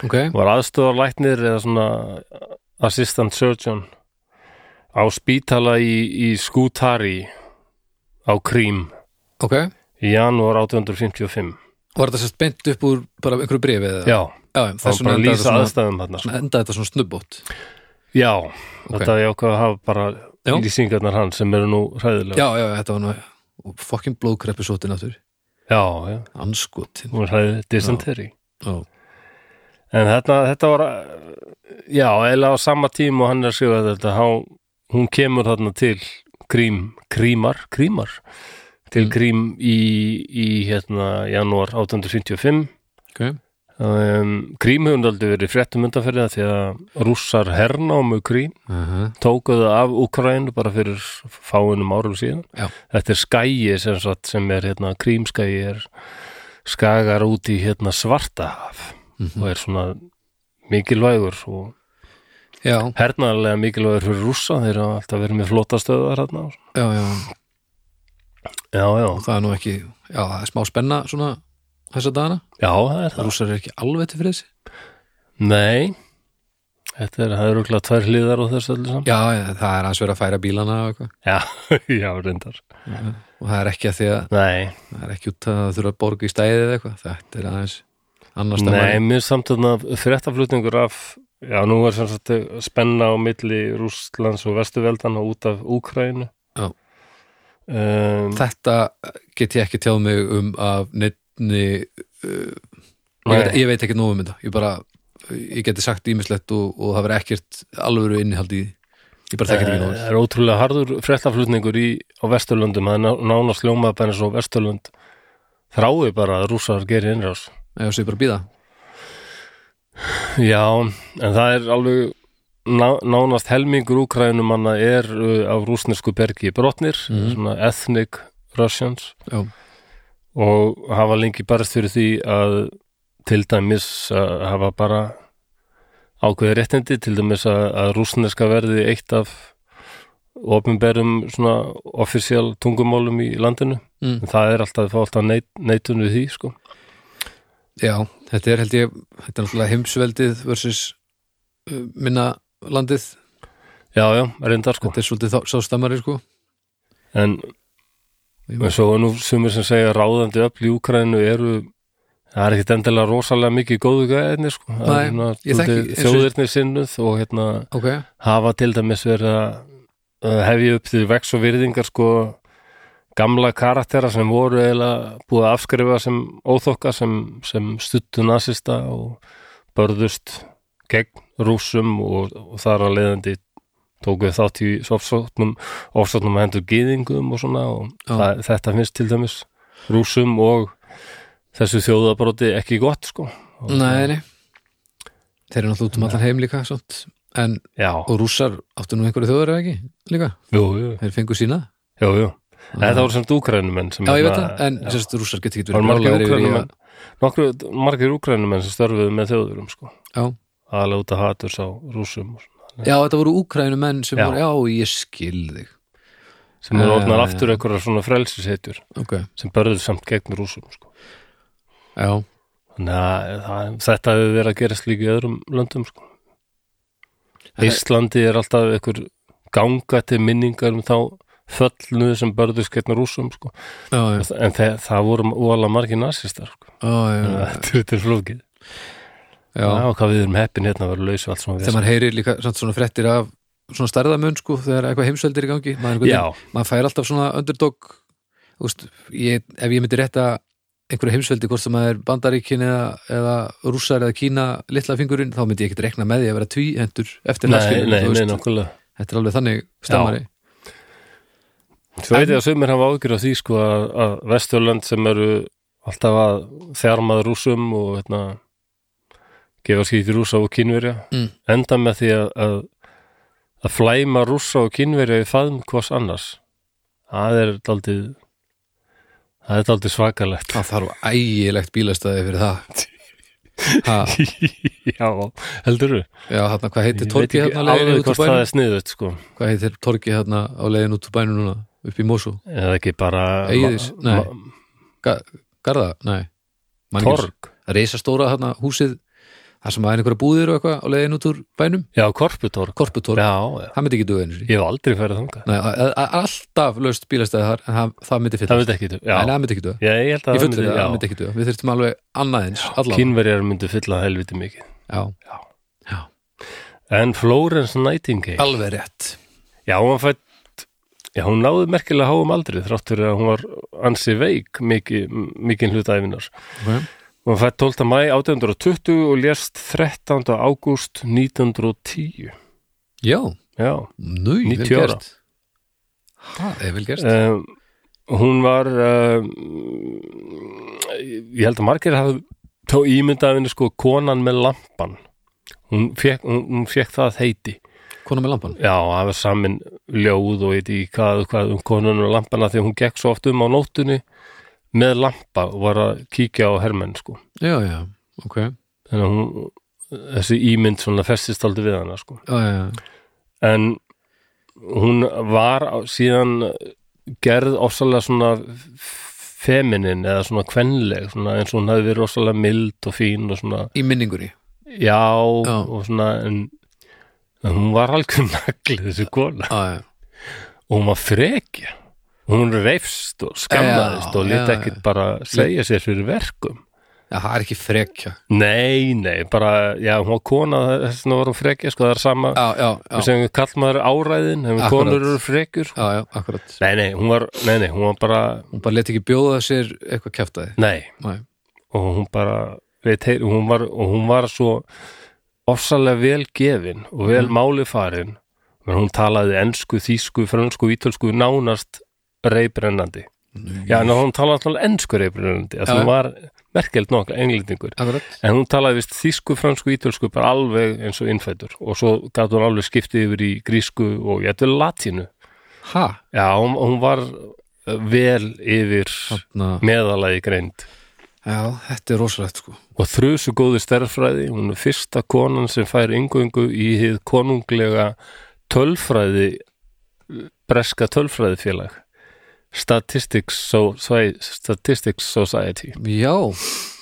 ok,
var aðstöðarlæknir eða svona assistant surgeon á spítala í, í Skútari á Krím
ok
í janúar 1855
Var þetta sérst beint upp úr bara einhverju brefi eða?
Já,
já
þá
þessum enda
bara að
þetta
lýsa
svona,
aðstæðum þarna sko.
svona enda þetta svona snubbót
Já, þetta ég ákvað að hafa bara
Já.
lýsingarnar hans sem eru nú hræðilega
Já, já, þetta var nú og fucking blóðkreppi sótin aftur
já, já.
Anskotin
hún er hræðið dysentery
Já,
en þetta, þetta var uh, já, eða á sama tíma og hann er að skrifa þetta hann, hún kemur þarna til krím, krímar, krímar til krím í, í hérna janúar 1855
ok
um, krím hefur aldrei verið í fréttum undanferðið af því að rússar hernámu krím
uh
tókuðu af Ukraínu bara fyrir fáinum árum síðan
Já.
þetta er skæi sem, sagt, sem er hérna, krímskæi er skagar út í hérna, svartahaf og er svona mikilvægur og
Já,
hernaðarlega mikilvægur fyrir rússa þeir hafa alltaf verið með flótastöðar hérna.
já, já,
já, já,
það er nú ekki Já, það er smá spenna svona þessa dagana
já, það er það
Rússar er ekki alveg til friðs
nei, þetta er, það er örugglega tvær hliðar á þessu öllu saman
Já, já, það er hans verið að færa bílana og, eitthvað.
já, já, reyndar
og það er ekki að því að
nei,
það er ekki út að það þurfa að borga í stæðið eða eitthvað Þetta er aðeins annars
Nei, mér er samt þarna fréttaflutningur af já, nú er sem sagt spenna á milli Rússlands og Vesturveldana út af Úkrænu
Já.
um,
þetta get ég ekki tjáð mig um af neittni ég, veit- ég veit ekki nóg um þetta ég bara, ég geti sagt ímislegt og, og það verið ekkert alvöru innihald í því. ég bara þekkir ekki nóg
Það eh, er ótrúlega harður fréttaflutningur í, á Vesturlöndum, það er ná- nánast ljómað bara eins og Vesturlönd þrái bara að rússar geri innrás
vel. ég sé bara býða
Já, en það er alveg ná, nánast helmingur úkrænumanna er uh, af rúsnesku bergi brotnir,
Mhm.
svona ethnic Russians
Já.
og hafa lengi barist fyrir því að til dæmis að hafa bara ákveði réttindi, til dæmis að, að rúsneska verði eitt af opinberum svona offisíal tungumálum í landinu
Mm.
en það er alltaf, fá alltaf neit, neitun við því sko.
Já, þetta er held ég þetta er náttúrulega heimsveldið versus uh, minna landið
já, já, reyndar sko
þetta er svolítið þá- sá stammari sko
en en svo er nú sumir sem segja að ráðandi öfl í Úkrænu eru það er ekkit endilega rosalega mikið góðu gæðinni sko. Það
Nei,
er svona
ég þekki-
svolítið
eins og-
þjóðirni sinnuð og hérna
Ok,
hafa til dæmis verið að hefja upp því vex og virðingar sko gamla karaktera sem voru eiginlega búið að afskrifa sem óþokka sem, sem stuttu nasista og börðust gegn rússum og, og þar að leiðandi tókuð þátt í ofsóknum, ofsóknum að hendur gýðingum og svona og
Já.
það, þetta finnst til dæmis rússum og þessu þjóðabróti ekki gott sko Og-
nei, nei Þeir eru náttúrulega út um allan heim líka svont. en,
Já,
og rússar áttu nú einhverju þjóður eða ekki líka,
jú, jú,
þeir fengu sína
jú, jú. En þetta voru samt úkrænumenn sem
Já, ég veit
hérna-
það, en sérst rússar getur ekki
Það
verið
voru margir
bjargaðir yfir í að-
úkranumenn nokkru, margir úkranumenn sem störfuðu með þjóðurum sko.
Já.
aðalega út að haturs á rússum og svona,
Já, þetta voru úkrænu menn sem
Já.
voru, já, ég skil þig
sem eru
Já,
orðnar
já,
aftur einhverjar svona frelsishetjur
Ok,
sem börðu samt gegn rússum sko.
já,
þannig að það, þetta hefur verið að gerast líka í öðrum löndum sko.
En-
Íslandi er alltaf einhver ganga til minningar um þá föllnu sem börðu skegn rússum sko.
já, já,
en það, það voru óalega margir nasistar sko.
já, já,
Þannig
já,
að þetta er flókið
já.
Já, hvað við erum heppin hérna að vera lausu allt svona
þegar maður heyrir líka samt svona frettir af svona stærðamun sko þegar eitthvað heimsveldir í gangi maður,
Já,
einhvern veginn- maður fær alltaf svona underdog úst, ég, ef ég myndi rétta einhverju heimsveldi hvort sem maður er bandaríkin eða, eða rússar eða kína litla fingurinn þá myndi ég ekkert rekna með því að vera tvíhendur eftir
nei, nei,
þú
nei,
veist.
nokkulega
þetta er alveg þannig stammari
Svo veit ég að sömur hafa ágjur af því sko að, að Vesturlönd sem eru alltaf að þjarmað rússum og hérna gefa skýti rússa og kínverja
Mm.
enda með því að, að að flæma rússa og kínverja í faðm hvors annars það er daldið það er daldið svakalegt
það þarf ægilegt bílastæði fyrir það ha,
Já, heldur þú?
já, hérna, hvað heitir
Ég veit
torgi
ekki
hérna á leiðin
alveg
út úr
hvort það
bænum
er sniðut sko
hvað heitir torgi hérna á leiðin út úr bænum núna upp í Mosó,
eða ekki bara
Eiðis? Nei.
ma-
Garða, nei Man ekki-
Torg?
reisastóra hana, húsið þar sem var einhverja búðir og eitthvað á leiðin út úr bænum
Já, korputorg
korputorg,
Já, já,
það myndi ekki duga einu sinni
ég hef aldrei færið þangað
Nei, a- a- alltaf löst bílastæði þar en það- það myndi
Það
fylla
veit ekki, þú- já,
en það myndi ekki duga,
Já, ég held að
ég fullir það
já.
það myndi ekki duga við þurftum alveg annað eins, allavega
Kínverjar myndu fylla helviti mikið.
já,
En Florence Nightingale,
alveg rétt
já, hún var fætt, já, hún náði merkilega háum aldri þrátt fyrir að hún var ansi veik mikið, mikið hlutæfinar.
okay.
Hún var fætt 12. mæ 1820 og lést 13. ágúst 1910.
já,
Já,
nú,
90
vel
ára.
gert það er vel gert
um, hún var, um, ég held að margir hafði þá ímyndaðinu sko konan með lampan. Hún fekk, hún, hún fekk það heiti.
kona með lampan,
Já, það var samin ljóð og veit í hvað, hvað um konun og lampana því að hún gekk svo oft um á nóttunni með lampa og var að kíkja á hermenn sko.
já, já, ok já,
Þannig að hún, þessi ímynd svona festist aldrei við hana sko.
já, já.
En hún var á- síðan gerð ofsalega svona feminin eða svona kvenleg svona eins og hún hefði verið ofsalega mild og fín og svona
í minningunni,
já,
Já.
og svona en, en hún var algjör naglið þessi kona
já, já,
og hún var frekja hún reifst og skammaðist
Já,
og lit
já,
ekkit bara segja sér fyrir verkum
já, það er ekki frekja
nei, nei, bara já, hún var kona, þess vegna var hún frekja sko það er sama,
já, já,
við
já,
segjum við kallmaður áræðin hefum
Akkurat.
konur eru frekjur
já, já akkurat
nei, nei, hún var, nei, nei, hún var bara
hún bara leti ekki bjóða sér eitthvað kjaftaði
nei,
Nei.
og hún bara veit, heyr, hún var, og hún var svo ofsalega vel gefin og vel
Mhm.
máli farin menn hún talaði ensku, þýsku, frönsku, ítölsku nánast reybrennandi Já, en hún talaði alltaf ennskur eifrinandi, að
Já.
hún var merkelt nokk englendingur,
Akkurat
en hún talaði vist þýsku, fransku, ítölsku, bara alveg eins og innfættur og svo gæti hún alveg skiptið yfir í grísku og ég ætli latínu.
Ha,
Já, hún, hún var eh, vel yfir
þarna
meðalagi greind
Já, þetta er rosalegt sko
og þrjusu góði stærðfræði, hún er fyrsta konan sem fær yngöngu í hið konunglega tölfræði, breska tölfræðifélag, Statistics, so Statistics Society.
Já,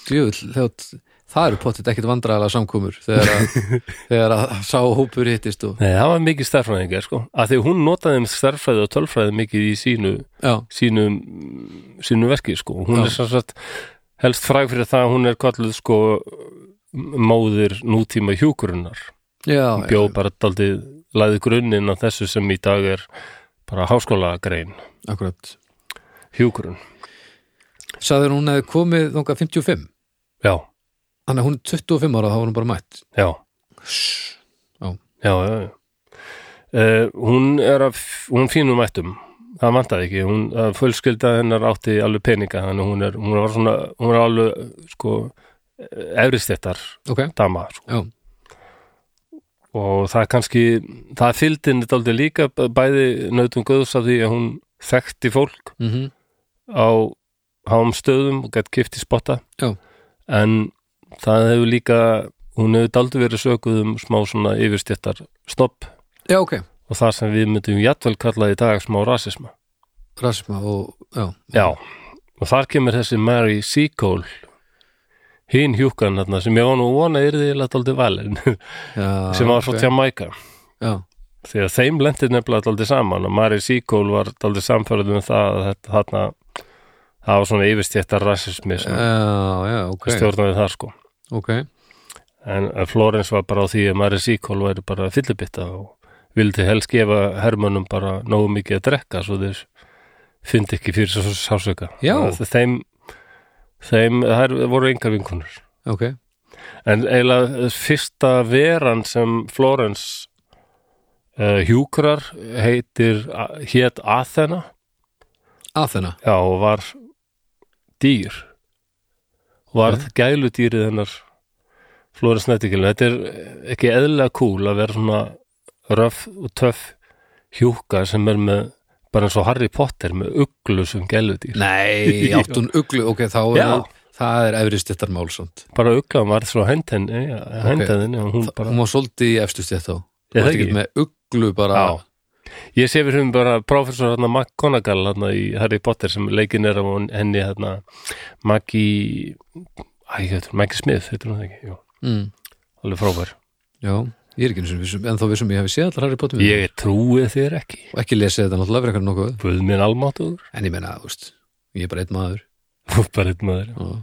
djöfull þegar- Það eru pottit ekkit vandræðalega samkomur þegar að, þegar að sá hópur hittist og
Nei, það var mikið stærfræðingar sko að því hún notaði um stærfræði og tölfræði mikið í sínu,
Já,
sínu sínu verki sko hún
Já.
er sem sagt helst fræg fyrir það að hún er kalluð sko móðir nútíma hjúkurunar
já, já,
bjó bara daldið læði grunninn að þessu sem í dag er bara háskólagrein
akkurat
hjúkurun,
Sæður hún hefði komið þangað 55
já,
Þannig að hún er 25 ára þá var hún bara mætt
já
Já.
já, já, já. Uh, hún er af hún er fínum mættum það vantaði ekki, hún uh, fullskilda hennar átti alveg peninga þannig hún er, hún var svona, hún er alveg sko, efristéttar
Ok,
dama sko.
já,
og það er kannski það fylgdi henni dálítið líka b- bæði nautum guðs af því að hún þekkti fólk
mhm
á hám stöðum og gætt kifti spotta
Já.
en það hefur líka hún hefur dálítið verið sökuð um smá svona yfirstéttar stopp
Já, ok,
og það sem við myndum jættvel kalla í dag smá rasisma.
Mm. rasma og, já,
Já, og þar kemur þessi Mary Seacole hinn hjúkan þarna sem ég var nú að vona yrði lagt aldrei valin
já
sem var svo
Ah, ok.
Jamaica
Já,
því að þeim lendir nefnilega aldrei saman og Mary Seacole var aldrei samfærið um það að þetta þarna það var svona yfirstjættar rasismi sem
já, já, Eh, ok
stjórnaði þar sko
Ok,
en en Florence var bara á því að Mary Seacole væri bara fyllibitta og vildi helst gefa hermönnum bara nógu mikið að drekka svo þeir fyndi ekki fyrir svo sásöka
Já.
þeim, þeim þær voru engar vinkunur
ok
en eiginlega eh, fyrsta veran sem Florence uh, hjúkrar heitir eh, hét Athena
Athena,
já, og var dýr var okay. gæludýrið hennar Flórens Nettikil þetta er ekki eðlilega cool að vera svona röf og töff hjúka sem er með bara eins og Harry Potter með uglu sem gæludýr
nei, átt hún uglu Ok, þá er
Já.
það er efri stjættar málsand
bara ugla var svo hendan hendan og hún bara
Hún var svolítið í efstu stjætt þá
Ég
Hún var
þekki.
ekki með uglu bara
Já. Ég sé við höfum bara prófessor hérna McGonagall hérna í Harry Potter sem leikinn er af hon- henni hérna Maggie Æ, ég heitir, Maggie Smith, heitir hún það ekki Jú,
mm.
alveg frábær
Já, ég er ekki eins og vissum En þá vissum um ég hafi séð allar Harry Potter myndir.
Ég trúi þér ekki
Og ekki lesið þetta náttúrulega fyrir eitthvað nokkuð
Guð minn almáttuður
En ég meina, þú veist, ég er bara einn maður
bara einn maður
Já.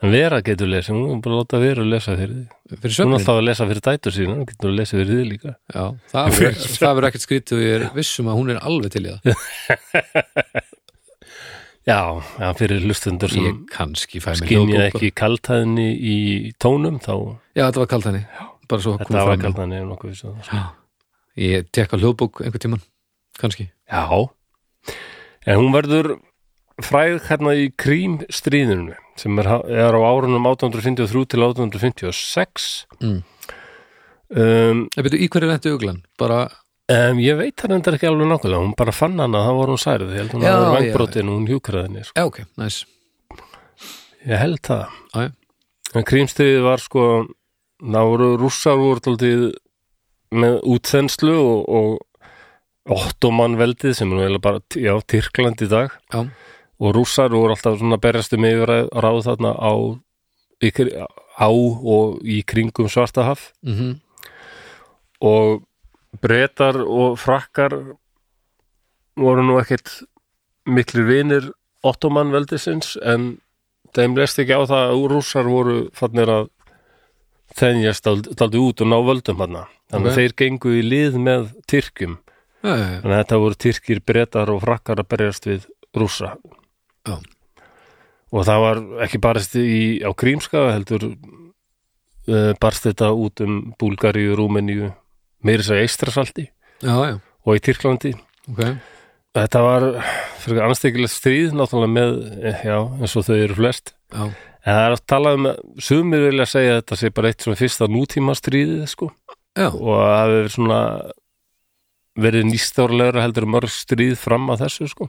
En Vera getur lesið, hún er bara að láta Vera lesa fyrir því
Fyrir
Hún er
svefnin
alltaf að lesa fyrir dætur sína, hún getur að lesa fyrir því líka
Já, það
Fyrir
verður- það verður ekkert skrítið og ég er vissum að hún er alveg til í það
Já, já fyrir hlustundur sem
Ég kannski fæ mér
skynja
hljóðbók bara.
ekki kaltæðinni í tónum þá
Já, þetta var kalt henni bara svo að koma
þetta var
fram
kaltæðinni ef nokkuð vissi það
Já. Ég tek á hljóðbók einhvern tíman kannski
Já, en hún verður fræð hérna í Krímstríðinu sem er, er á árunum 1853 til 1856
Mm.
um,
En byrju, í hverju lenti uglan? Bara,
um, Ég veit hann endur ekki alveg nákvæmlega hún bara fann hana, það var hún særið ég held hún
Já,
að
já,
vera vangbrotin og hún hjúkraðinni sko.
já ok, næs
ég held það
Já, já.
en Krímstríðið var sko það voru rússar voru taldið með útþenslu og, og ottoman veldið sem er nú eiginlega bara, já, Tyrkland í dag
Já,
og rússar voru alltaf svona berjast um yfir að ráð þarna á, ykkur, á og í kringum Svartahaf
mm
og breytar og frakkar voru nú ekkert miklir vinir ottoman veldisins en þeim leist ekki á það að rússar voru fannir að þenjast daldi út og ná völdum hann þannig
Ok.
að þeir gengu í lið með tyrkjum
já, já, já.
þannig að þetta voru tyrkir, bretar og frakkar að berjast við rússa
Já.
og það var ekki barist í, á Krímska heldur uh, barst þetta út um Búlgaríu, Rúmeníu meiri þess að eistrasalti
já, já,
og í Tyrklandi
ok
þetta var fyrir anstækilegt stríð náttúrulega með, eh, já, eins og þau eru flest
já,
en það er að tala um, sumir vilja segja að þetta sé bara eitt svona fyrsta nútíma stríðið sko,
já,
og að það hefur svona verið nýstárlegra heldur en mörg stríð fram að þessu sko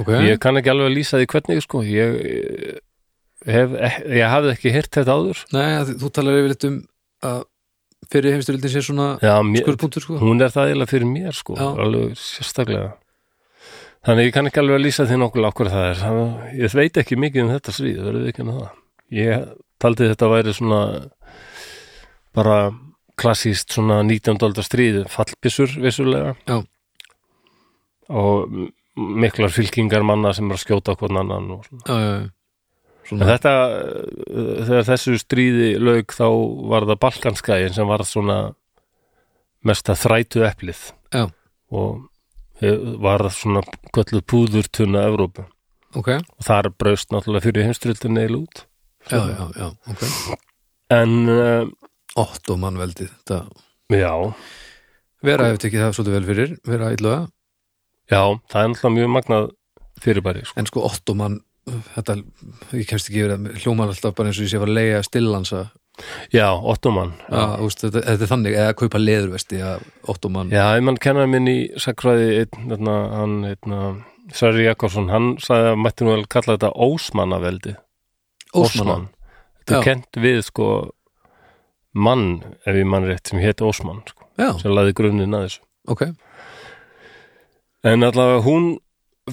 ok
ég kann ekki alveg að lýsa því hvernig sko ég, eh, hef, ek- ég hafði ekki hirt þetta áður
Nei, að þú talar yfirleitt um að fyrir heimstyrildin sé svona
já, mér,
skurðpunktur sko
hún er það eiginlega fyrir mér sko,
Já.
alveg sérstaklega þannig ég kann ekki alveg að lýsa því nokkuð okkur það er, Þannig að ég veit ekki mikið um þetta svíð, verður ekki með það ég taldi þetta væri svona bara klassíst svona 19. aldar stríð fallbissur vissulega
Já.
og m- miklar fylkingar manna sem er að skjóta okkur annan og svona
Já, já, já.
En
Svona,
þetta, uh, þegar þessu stríði lauk þá var það Balkanskæin sem var svona mesta þrætu eplið
Já.
og eh, var svona kölluð púðurtunna Evrópu
ok, já,
og þar braust náttúrulega fyrir heimstryldinni eil út
já, já, ok
en uh,
Ottoman veldið, þetta
já,
Vera hefði tekið það svolítið vel fyrir, vera illuga
já það er náttúrulega mjög magnað fyrirbæri sko.
En sko Ottoman, þetta ég kemst ekki yfir það, hljóman alltaf bara eins og ég sé að fara að leiga stillansa
já, ottoman
Já, Ah, úst, þetta, þetta er þannig, eða kaupa leðurvesti að Ottoman,
Já, ég mann kennar minn í sakfræði einn, þarna, hann, einna, Sverri Jakobsson, hann sagði að mætti nú vel kalla þetta Ósmannaveldi
Ósmann
Þetta er
Já.
kent við sko mann, ef ég mann rétt, sem hétt Ósmann sko,
Já,
sem laði grunninn að þessu.
ok,
En allavega hún,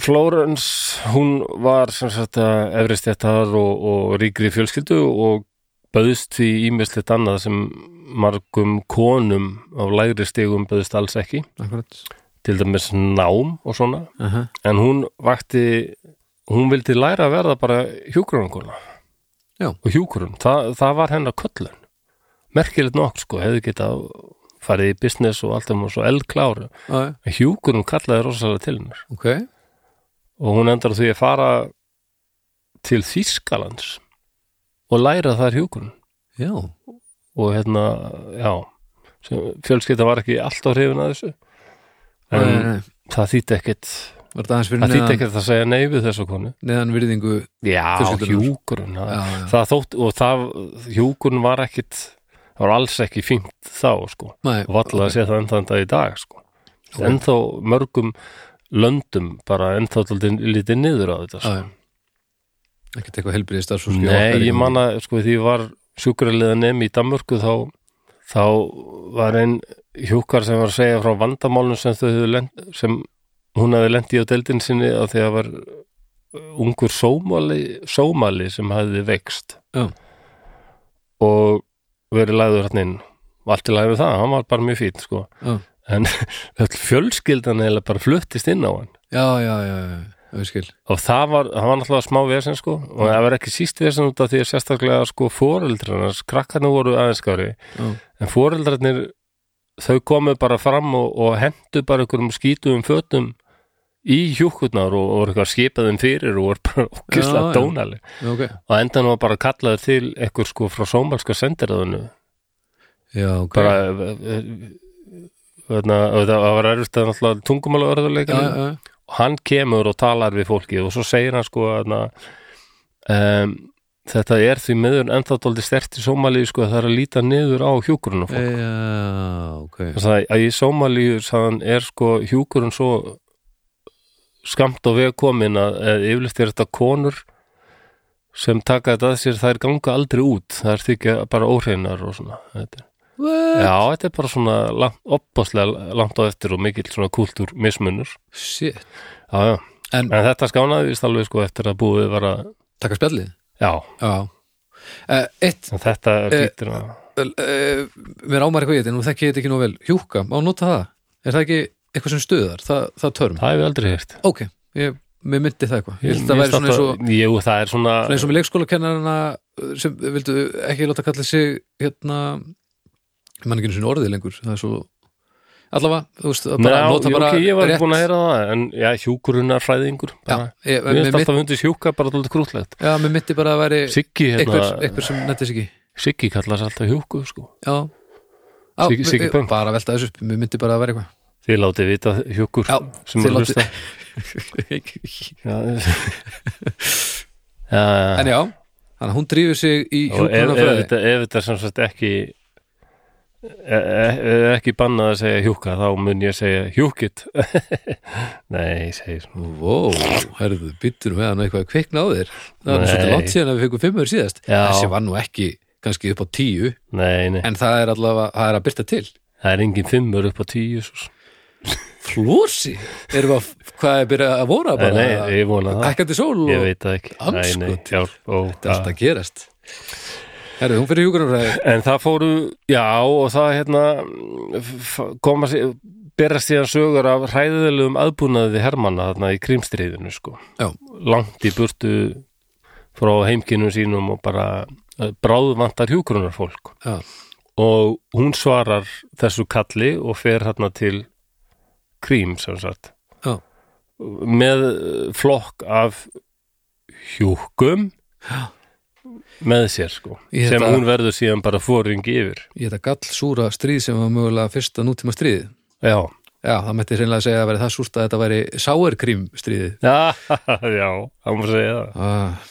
Florence, hún var sem sagt að efristjættar og, og ríkri fjölskyldu og böðst því ímislegt annað sem margum konum af lægri stigum böðst alls ekki,
akkurat
til dæmis nám og svona,
uh -huh.
en hún vakti hún vildi læra að verða bara hjúkrunankona
Já.
og hjúkrun, Þa, það var hennar köllun merkilegt nokk sko, hefði geta farið í business og allt um og svo eldklár
ah,
hjúkurinn kallaði rosalega til hennar
Ok,
og hún endar á því að fara til Þýskalands og læra þar hjúkurinn
já,
og hérna, já sem- fjölskyldan var ekki alltaf hrifin að þessu en
nei, nei, nei.
það þýtti ekkit
Var þetta aðeins fyrir
það þýtti
neðan,
ekkit að segja nei við þessu konu
neðan virðingu
Já,
Fjölskyldunnar.
hjúkurinn það,
Já, já.
það þótt, og það, hjúkurinn var ekkit það var alls ekki fínt þá sko,
Nei,
og valla að sé það ennþá enda í dag sko,
Ok.
ennþá mörgum löndum bara ennþá taldið lítið niður á þetta sko.
Já, já. Ekkert eitthvað helbriði starfsfólki
Nei, ég man að sko því ég var sjúkraliða nemi í Danmörku þá, þá var einn hjúkar sem var að segja frá vandamálunum sem, þau höfðu lent, sem hún hefði lent í á deildin sinni að því að var uh, ungur sómali, sómali sem hefði veikst
Já.
og verið lagður hann inn og allt í lagi við það, hann var bara mjög fín sko.
Já.
en öll fjölskyldan eða bara fluttist inn á hann
Já, já, já, já, já, ég skil
og það var, það var náttúrulega smá vesen sko og það var ekki síst vesen út af því að sérstaklega sko fóreldrarnas, krakkarnir voru aðeinskári
Já,
en fóreldrarnir þau komu bara fram og, og hendu bara einhverjum skítum fötum í hjúkurnar og, og voru eitthvað skipaðum fyrir og voru bara
Já,
okkislega
já.
dónali
já, ok
og á endan var bara kallaður til einhver sko frá sómalska sendiröðunu
Já, ok
bara eh, þarna, hérna, það var erfitt að náttúrulega tungumála
Já,
örðuleikinu
já, já,
og hann kemur og talar við fólkið og svo segir hann sko að um, þetta er því miður ennþá tóldi stert í Sómalíu sko að það er að líta niður á hjúkurinn og
já,
fólk.
ok
Þess að, að í Sómalíu sagðan er sko hjúkurinn svo skamt og veg komin að eða yfirleitt er þetta konur sem taka þetta að sér, þær ganga aldrei út það er þykja bara óhreinar og svona þetta. er-
What?
Já, þetta er bara svona langt, oppáslega langt á eftir og mikill svona kultúr mismunur
Shit
Já, já
En
En þetta skánaði vist alveg sko eftir að búið var að,
taka spjallið
já,
Já Eh, Eitt,
en þetta
Eh,
lítur að,
uh, mér ámar eitthvað ég þetta, nú þekki ég þetta ekki nóg vel Hjúka, má nota það Er það ekki eitthvað sem stuðar, það, það törm
það hef ég aldrei hýrt.
Ok, ég, mér myndi það eitthvað Ég held að það væri svona eins og
Jú, það er svona,
Svona eins og með leikskólakennarana sem vildu ekki láta kalla sig hérna ég man ekki einu sinni orðið lengur það er svo allavega, þú veist, að bara
Ná,
nota
jú,
bara
ok, ég var
rétt
búin að heyra það, en já, hjúkurunarfræðingur,
já,
bara,
ég,
mér
mér,
finnst
mitt,
alltaf hundið hjúka bara dálítið krútlegt.
já, mér mitti bara að væri
Siggi,
einhver,
hérna,
einhver sem nettis ekki já,
Siggi kallast alltaf hjúku, sko. Siggi-
já
Siggi
mér-
Punk.
bara að velta þessu upp, mér myndi bara að vera eitthvað
Þið látið vita hjókur
Já,
sem
þið
er að
látið-
hlusta Já, já, já.
en já, þannig að hún drífur sig í
Og ef, ef,
hjúkrunarfræði
þetta, ef þetta er sem sagt ekki e, e, ekki bannað að segja hjúka þá mun ég segja hjúkit Nei, ég segi svona
Vó, herðu, byttur við hann eitthvað að kvikna á þér það er
Nei.
svolítið langt síðan að við fengum fimmur síðast
Já.
þessi var nú ekki kannski upp á tíu
Nei, nei,
en það er allavega, það er að byrta til
það er engin fimmur upp á tíu svo.
Flósi, erum við að hvað er byrjað að vora
Nei,
bara
nei, ég vona það
hækkandi sól og
Ég veit það ekki
Alls
nei, nei,
gott.
já,
þetta
og,
er alltaf að gerast herðu, hún fyrir hjúkrunarfræði
En það fóru, já, og það hérna f- koma sér berast síðan sögur af hræðilegum aðbúnaði hermanna þarna í krimstriðinu sko.
Já.
Langt í burtu frá heimkinnum sínum og bara eh, bráðvantar hjúkrunar fólk
Já.
og hún svarar þessu kalli og fer hérna til krím sem sagt
Já.
með eh, flokk af hjúkum
Já.
með sér sko
Ég
sem
þetta-
hún verður síðan bara fóringi yfir
í þetta gall súra stríð sem var mögulega fyrsta nútíma stríð
Já,
já, það mætti hreinlega segja að veri það súrt að þetta væri sáerkrím stríðið
já, já, það má segja það
ah,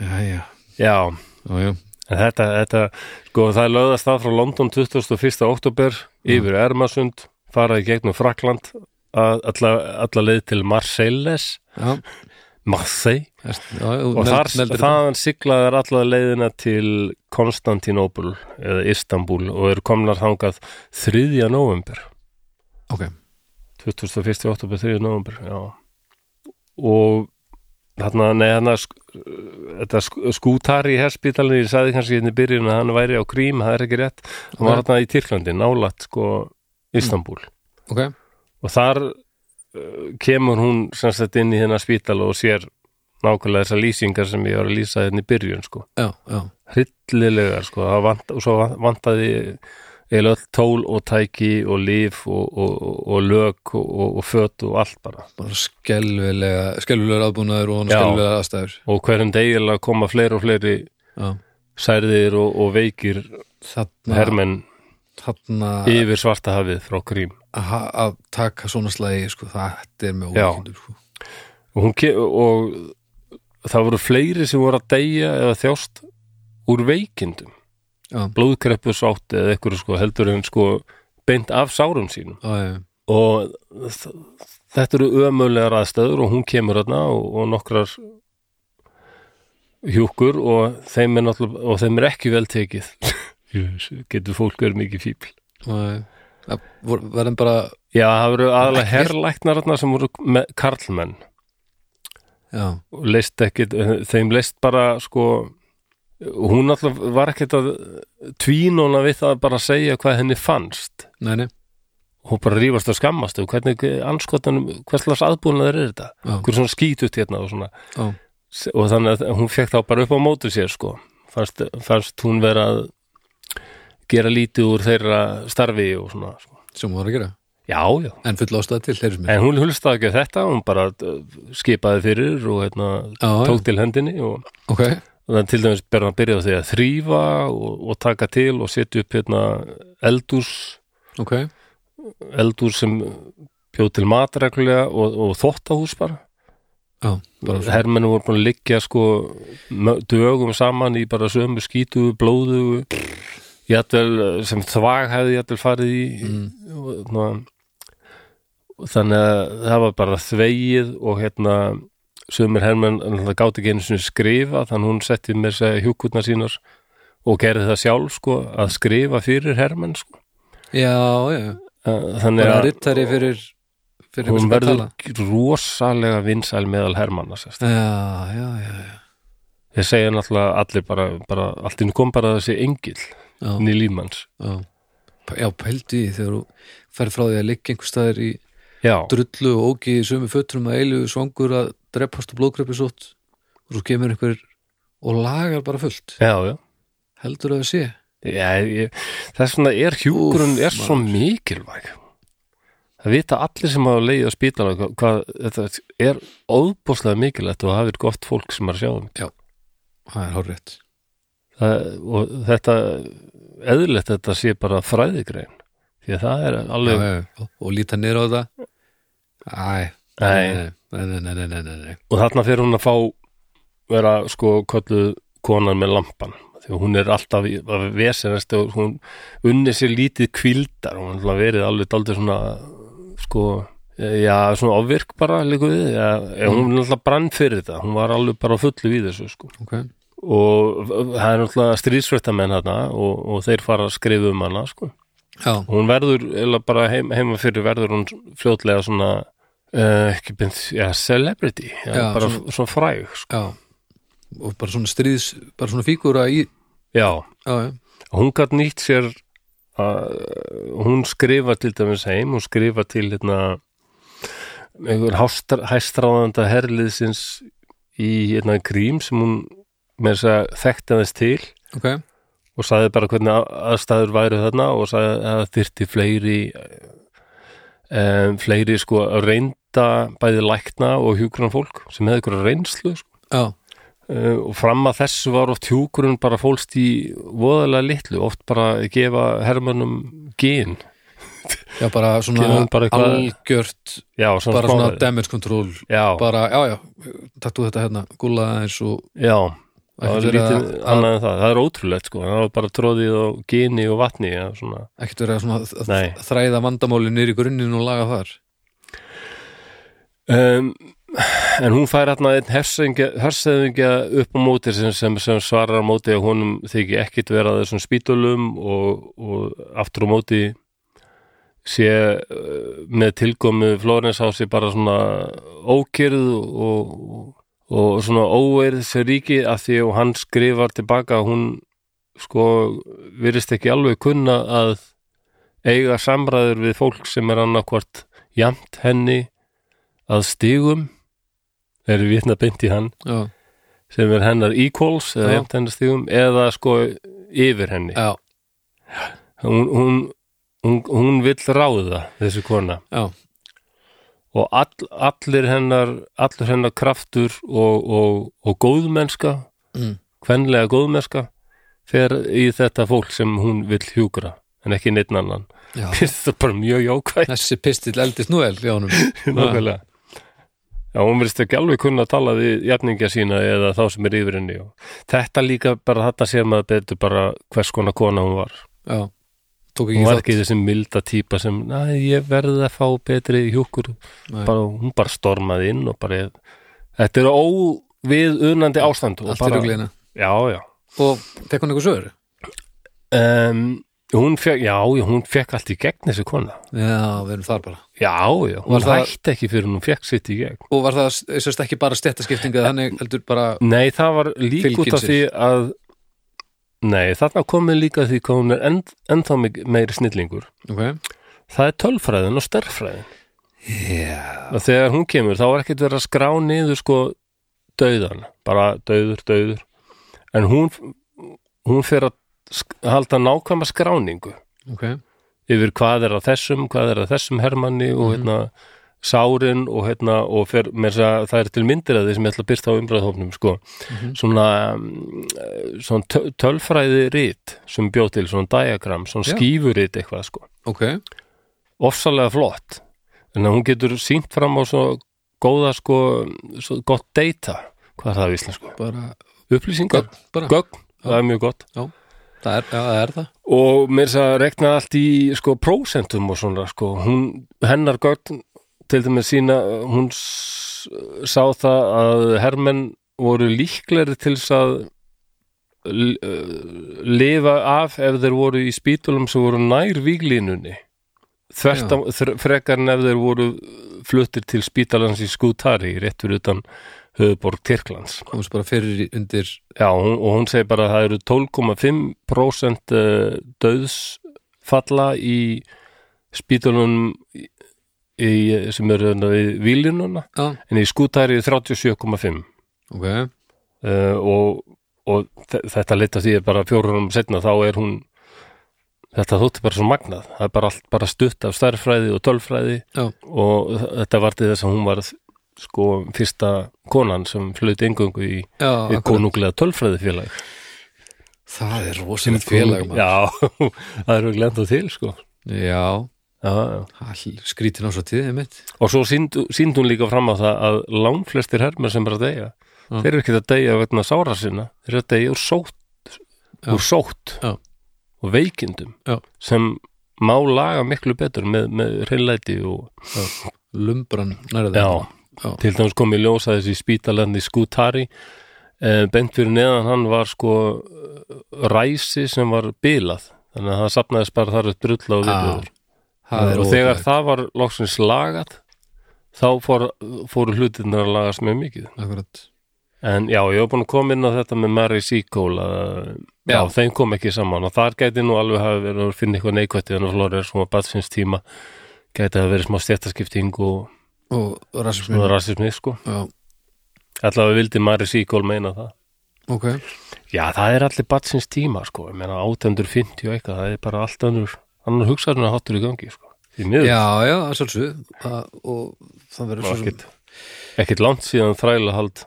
já, já,
Já,
já, já.
en þetta, þetta sko, það er löðast það frá London 21. oktober
Mm.
yfir Ermasund, fara í gegnum Frakland að- alla, alla leið til Marseilles
já.
Marseille
erst- já, já,
og
neld-
þar,
neldir þetta.
þaðan siglaðar alla leiðina til Konstantinopul eða Istanbul og eru komnar þangað 3. november
Ok,
21. oktober, 3. november já. og þarna, nei, þarna sk- þetta sk- skútari í herspítalinu, ég sagði kannski hérna í byrjun að hann væri á Krím, það er ekki rétt hann var
Nei.
þarna í Tyrklandi, nálætt sko Istanbul
ok,
og þar uh, kemur hún sem sagt inn í hennar spítal og sér nákvæmlega þessar lýsingar sem ég var að lýsa hérna í byrjun sko,
já, já
hryllilegar sko, það vant, og svo van- vantaði eiginlega öll tól og tæki og líf og, og, og, og lög og, og, og föt og allt bara
bara skelvilega, skelvilega aðbúnaður og
Já.
skelvilega aðstæður
og hverjum degilega koma fleiri og fleiri
já.
særðir og, og veikir
þarna,
hermenn
þarna
yfir svartahafið frá Krím
að ha- að taka svona slagi sko, það er með
Já.
ólíkindur sko.
og, hún ke- og það voru fleiri sem voru að deyja eða þjást úr veikindum
Já.
blóðkreppu sátt eða ekkur sko heldur en sko beint af sárum sínum
Já, já, já.
og þ- þetta eru ömulegar aðstæður og hún kemur þarna og, og nokkrar hjúkur og þeim er, náttúrulega- og þeim er ekki vel tekið Jú, getur fólk verið mikið fíbl
Já, já. Það voru- verðum bara
Já, það voru aðalega
Læknir?
herrlæknar þarna sem voru með karlmenn
já,
og leist ekkit, þeim leist bara sko, hún alltaf var ekkit að tvínóna við það bara að segja hvað henni fannst
nei, nei
hún bara rífast og skammast og hvernig anskotanum, hverslas aðbúnaður er þetta
Já.
hver svona skítut hérna og svona
Já.
og þannig að hún fekk þá bara upp á móti sér sko, fannst, fannst hún vera að gera lítið úr þeirra starfi og svona sko.
sem hún var að gera,
já, já
en full ástæða til heyrðis mér,
En hún hulstaði ekki á þetta, hún bara uh, skipaði fyrir og hérna,
Já, já.
tók til hendinni og,
ok
og það til dæmis ber hann að byrja á því að þrýfa og, og taka til og setja upp hérna, eldús,
ok,
eldús sem bjóð til matreglulega og, og þóttahús bara.
já, bara svo
Hermennu voru búin að liggja sko mö- dögum saman í bara sömu skítugu, blóðugu, jætvel, sem þvag hefði jætvel farið í.
Mm.
Og, ná, þannig að það var bara þvegið og hérna sömur hermenn náttúrulega gáti ekki einu sinni skrifa þannig að hún setti með þess að hjúkurnar sínar og gerði það sjálf sko að skrifa fyrir hermenn sko.
já, já, já,
Eh, þannig
bara
að
rittari fyrir fyrir eitthvað
hún
sem er að
verður
tala
rosalega vinsæl meðal hermanna sérst.
já, já, já, já,
Ég segja náttúrulega allir bara, bara allt inni kom bara þessi engil
já.
ný lífmanns.
Já, P- já pældu í því þegar þú fer frá því að liggja einhver staðar í
Já,
drullu og ógi í sömu fötrum að eilu svangur að dreppast og blóðgreppi sótt og svo kemur einhver og lagar bara fullt
já, já.
heldur að það sé
já ég, þess vegna er hjúkurinn
Úff,
er svo mikilvæg. Það vita allir sem hafa leiðið á spítala hvað, hvað þetta er óbúslega mikilvægt og hafið gott fólk sem er að sjá um.
það er hárrétt
Það, og þetta eðlilegt að þetta sé bara fræðigrein. því að það er
já,
alveg
já, já. og líta niður á þetta Æ,
Nei.
nei, nei, nei, nei, nei, nei, nei.
og þarna fyrir hún að fá vera sko kölluð konan með lampan því að hún er alltaf í- að vesenast og hún unni sér lítið kvildar og hún er alltaf verið alveg daldið svona sko já svona ofvirk bara líka við já, mm. hún er alltaf brann fyrir þetta hún var alveg bara á fullu við þessu sko
ok
og það er náttúrulega stríðsvettamenn þarna og, og þeir fara að skrifa um hana sko
Já,
hún verður eða bara heim, heima fyrir verður hún fljótlega svona uh, ekki beint, já, celebrity já,
Já,
bara
svona-
svona, fræg sko.
já og bara svona stríðs, bara svona fígúra í
já,
já, já,
hún gat nýtt sér að hún skrifa til dæmis heim, hún skrifa til hérna einhver hástra- hæstráðanda herliðsins í hérna grím sem hún með þess að þekkti aðeins til
ok
og sagði bara hvernig a- aðstæður væru þarna og sagði að það þyrfti fleiri um, fleiri sko reynda bæði lækna og hjúkurinn fólk sem hefði ykkur reynslu sko.
já,
um, og fram að þessu var oft hjúkurinn bara fólst í voðalega litlu, oft bara gefa hermönnum gin
já, bara svona
Gerum bara eitthvað-
algjört
já, svona
bara svona
smávæði.
damage control
já,
bara, já, já, taktu þetta hérna gula eins og
já, það
ekkert
var
verið
lítið
að- að-
annað en það, það er ótrúlegt sko það var bara tróðið á gini og vatni já, svona
ekkert verið að svona
Nei.
að þræða vandamálin niður í grunninn og laga þar
um, en hún fær hérna einn herseðingja upp á móti sem, sem, sem svarar á móti að honum þykir ekkit vera á þessum spítulum og, og aftur á móti sé uh, með tilkomu Flórens á sig bara svona ókyrð og, og, og svona óeirð sem ríki að því og hann skrifar tilbaka að hún sko virðist ekki alveg kunna að eiga samræður við fólk sem er annarkvort jamt henni að stigum eru vitna beint í hann
já,
sem er hennar equals eða
Já.
jæmt hennar stigum eða sko yfir henni
já,
hún, hún, hún, hún vill ráða þessi kona
já,
og all, allir hennar allur hennar kraftur og, og, og góðmennska
mm,
kvenlega góðmennska fer í þetta fólk sem hún vill hjúgra en ekki neitt annan
já.
þetta er bara mjög jákvæð
þessi pistill eldist nú vel hjá honum
Nákvæmlega Já, hún verðist ekki alveg kunna að tala við jafningja sína eða þá sem er yfir henni og þetta líka bara þetta sér maður betur bara hvers konar kona hún var
já, tók ekki
hún var
þátt
ekki þessi milda típa sem næ, ég verði að fá betri hjúkur
Nei.
bara, hún bara stormaði inn og bara þetta er óviðunandi ástand og
allt í
bara,
ruglina
Já, já
og fekk hún eitthvað sögur
um, hún fekk, Já, já, hún fekk allt í gegn þessi kona
já, við erum þar bara
Já, já,
Var
hún
það-
hætti ekki fyrir hún fekk sitt í gegn
og var það sérst ekki bara stettaskiptinga þannig heldur bara
Nei, það var lík
Fylgir
út af
sér.
því að Nei, þarna komið líka að því hvað hún er enn, ennþá mik- meiri snillingur
ok,
Það er tölfræðin og stærfræðin
já,
og þegar hún kemur þá var ekkert verið að skrá niður sko dauðan bara dauður, dauður en hún, hún fer að sk- halda nákvæma skráningu
ok
yfir hvað er að þessum, hvað er að þessum hermanni
Mhm.
og hérna sárin og hérna og fer, með þess að það er til myndir að því sem ég ætla að byrta á umbræðhófnum sko,
Mhm.
svona um, eh, svona töl, tölfræði rít sem bjó til, svona diagram svona
Já.
skífurrit eitthvað sko
ok,
ofsalega flott en hún getur sínt fram á svo góða sko, svo gott data hvað er það á íslensku?
bara,
Upplýsingar?
Gögn, bara.
Gögn, það er mjög gott
það er, já, það er það
og mér þess að rekna allt í sko prósentum og svona sko hún, hennar gögn til dæmis sína hún s- sá það að hermenn voru líklegri til þess að l- uh, lifa af ef þeir voru í spítulum sem voru nær víglínunni þvert á, þr- frekar en ef þeir voru fluttir til spítalans í Skútari rétt fyrir utan höfuborg Tyrklands
komast bara fyrir í- undir
Já, hún, og hún segir bara að það eru 12,5% eh, dauðsfalla í spítalunum í, í- sem eru hérna við výlinuna,
já,
en í skútæri 37,5 uh,
ok,
eh, og, og þe- þetta leita því að bara fjórunum setna þá er hún þetta þótti bara svo magnað, það er bara allt bara stutt af stærfræði og tölfræði
já,
og þetta var til þess að hún var sko fyrsta konan sem flutti engöngu í,
já
í
akkurat.
konunglega tölfræðifélag
það er rosalegt félag maður.
Já, það eru glemt á til sko
já,
já, já.
all- skrítin ásatíð einmitt,
og svo sínd hún líka fram á það að langflestir hermenn sem er að deyja
Já.
þeir eru ekki að deyja vegna sára sinna þeir eru að deyja úr sótt,
Já.
úr sótt
Já.
og veikindum
Já.
sem má laga miklu betur með, með reynlæti og
lumbran nærði
Já,
Já.
til dæmis kom ég ljósa þessi spítalandi skútari eh, bent fyrir neðan hann var sko eh, ræsi sem var bilað þannig að það sapnaðist bara þar upp drulla
Ah.
og viðbjóður
það er
og þegar
ótrúlegt.
það var loksins lagað þá fór, fóru hlutirnar að lagast mjög mikið
Akkurat.
en já, ég hef búin að koma inn á þetta með Mary Seacole að já.
Já.
þeim kom ekki saman og þar gæti nú alveg hafa verið að finna eitthvað neikvætt í þannig að Flóra sem að batsins tíma gæti hafa verið smá stjættaskipting og,
og
og
rasismin
rasismi sko
já,
Allavega vildi Mary Seacole meina það.
ok,
Já, það er allir batsins tíma, sko. Ég meina 850 og eitthvað, það er bara allt önnur, annar hugsaðurinn að hattur í gangi, sko. Því miður,
já, já, að sjálfsög Það- og það verður
var
svo sem
ekkit, ekkit langt síðan þrælahald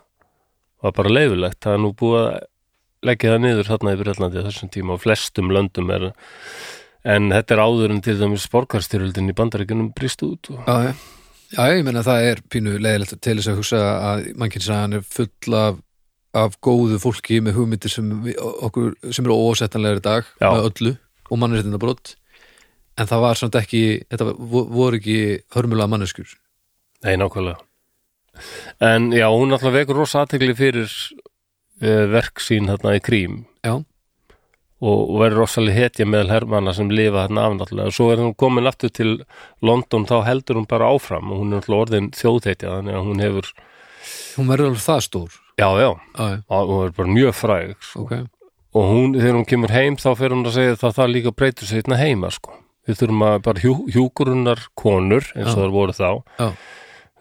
var bara leifilegt. Það er nú búið að leggja það niður þarna í Breitlandi á þessum tíma og flestum löndum er, en þetta er áður en til dæmis borgarstyrjöldin í bandaríkunum brist út og
Já, já. já, ég meina það er pínu leiðilegt til þess að hugsa að mannkynnsagan er full af, af góðu fólki með hugmyndir sem, við, okkur, sem eru ósettanlega í dag
Já.
með öllu og mannréttinda en það var samt ekki, þetta vo- voru ekki hörmulega manneskjur
Nei, nákvæmlega. En já, hún alltaf vekur rosa aðtegli fyrir uh, verk sín þarna í krím
Já,
og, og verður rosalega hetja meðal hermanna sem lifa þarna af náttúrulega. Svo er hún komin aftur til London, þá heldur hún bara áfram og hún er alltaf orðin þjóðhetja, þannig að hún hefur,
hún verður alveg það stór
já, já,
Já, já,
og hún er bara mjög fræg. Sko.
ok
Og hún, þegar hún kemur heim, þá fer hún að segja það það líka breytur sig hérna heima, sko. Við þurfum að bara hjú, hjúkurunar konur, eins og
Já.
það voru þá,
Já,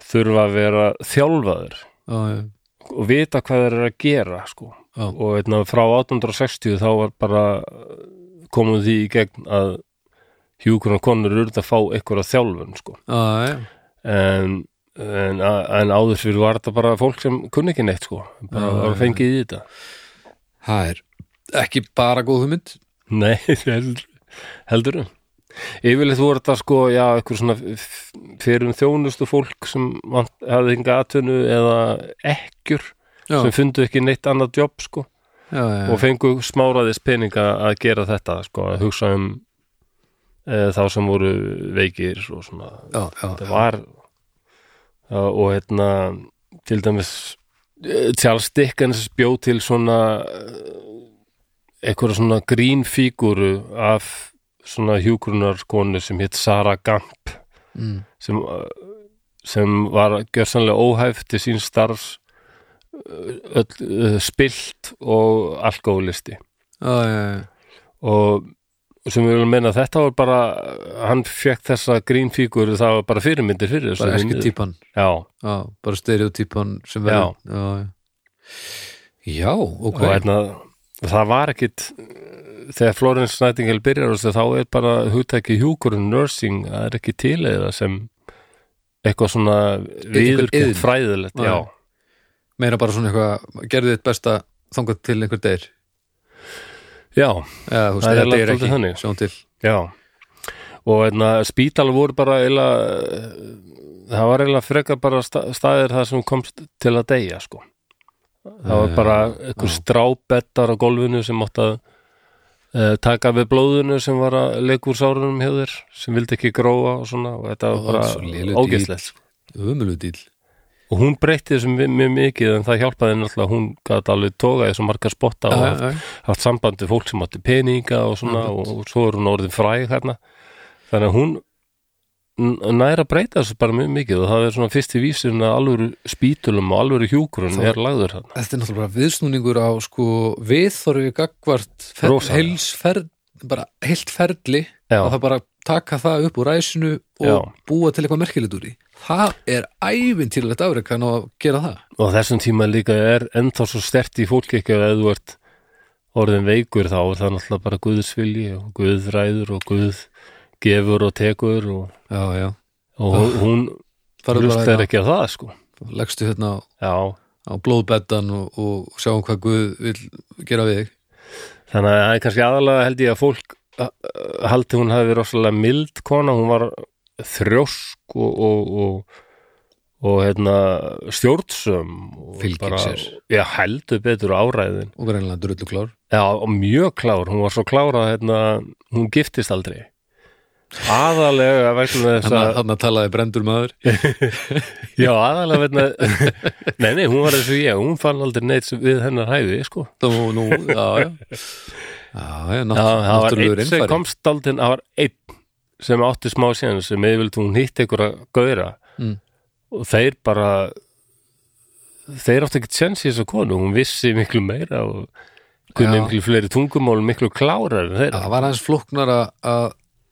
þurfa að vera þjálfaður
já, já,
og vita hvað þeir eru að gera sko.
Já.
og einna, frá 1860 þá var bara uh, komum því í gegn að hjúkurna konur urðu að fá einhverja þjálfun sko.
já, já.
en, en, a- en áður fyrir var þetta bara fólk sem kunni ekki neitt sko. bara
Já,
var
já,
fengið í þetta
Það er ekki bara góð hugmynd
nei, heldur heldur um Yfirleitt voru þetta sko, já, eitthvað svona fyrir um þjónustu fólk sem vant- hafði enga atvinnu eða ekkjur
Já,
sem fundu ekki neitt annað jobb sko.
já, já,
og fengu smáraðis peninga að gera þetta sko, að hugsa um e, þá sem voru veikir og svona,
já, já,
það
já,
var e, og hérna til dæmis e, Charles Dickens bjó til svona e, einhverja svona grínfíguru af svona hjúgrunarkonu sem hétt Sarah Gamp
mm,
sem, uh, sem var gjörsanlega óhæf til sín starfs uh, öll, uh, spilt og alkoholisti
já, já, já.
og sem við viljum meina að þetta var bara hann fekk þessa grínfíkur það var bara fyrirmyndir fyrir þessu
bara
því
eski
miður.
típan
já,
Já, bara stereotypan sem
Já.
verður Já, já. já ok
og hérna það var ekkit þegar Florence Nightingale byrjar þessu, þá er bara hugtæki hjúkurinn nursing, það er ekki til eða sem eitthvað svona
iðn.
viðurkjönd fræðilegt
Nei.
já,
Meira bara svona eitthvað, gerðu þitt besta þangað til einhver deyr
já,
Já, þú veist,
Það er
eða deyr
langt
ekki,
svolítið þannig.
sjáum til
Já, og einna, spítal voru bara eila, það var eila frekar bara sta- staðir það sem komst til að deyja, sko. Það var
Já,
bara einhver strábettar á gólfinu sem átt að eh, taka við blóðinu sem var að leika úr sárunum hjá þér, sem vildi ekki gróa og svona, og þetta
Ó,
var
svo lélegt
bara ógæslegt. sko.
Ömulu dýl
Og hún breytti þessum vi- mjög mikið, en það hjálpaði náttúrulega, hún gat alveg toga þessu marga spotta og haft- haft samband við fólk sem átti peninga og svona
Akkurat.
og, og svo er hún orðin fræg hérna þannig að hún n- nær að breyta þessu bara mjög mikið og það er svona fyrsti vísirinn að alvöru spítulum og alvöru hjúkurun
Það-
er lagður hérna
Þetta er náttúrulega bara viðsnúningur á sko viðþorfi gagvart
Rosalega.
heilsferð, bara heilt ferli að
Já,
það bara taka það upp úr ræsinu og
Já.
búa til eitthvað merkilegt úr því Það er ævintýrlegt afrek hann á að gera það
og þessum tíma líka er ennþá svo stert í fólk ekki að ef þú ert orðin veikur þá er það náttúrulega bara guðsvilji og guðræður og guð gefur og tekur og,
Já, já,
og hún- hún
farðu bara
hlustar
hérna,
ekki að það sko
leggstu hérna á
Já,
á blóðbettan og, og sjáum hvað Guð vil gera við þig
Þannig að það er kannski aðalega held ég að fólk uh, haldi hún hafi verið rosalega mild kona, hún var þrjósk og, og, og, og hérna, stjórnsöm og
Fylgir sér.
Já, heldur betur á áræðin
og greinlega drullu klár
Já, og mjög klár, hún var svo klár að hérna, hún giftist aldrei aðalega vegna þess að
þannig að talaði brendur maður
já, aðalega vegna nei, nei, hún var eins og ég, hún fann aldrei neitt sem- við hennar hæfi, sko
Nú, nú, já, já Já, já, nátt,
Já, það var
náttúrulegur
einn sem
innfæri
komst daldinn, það var einn sem átti smá síðan sem yfirvöld hún hitt einhverja gauðra
Mm.
og þeir bara þeir áttu ekki tjens í þessu konu hún vissi miklu meira og kunni
Já.
miklu fleiri tungumál miklu klárar en þeirra
Það var hans flóknar að- að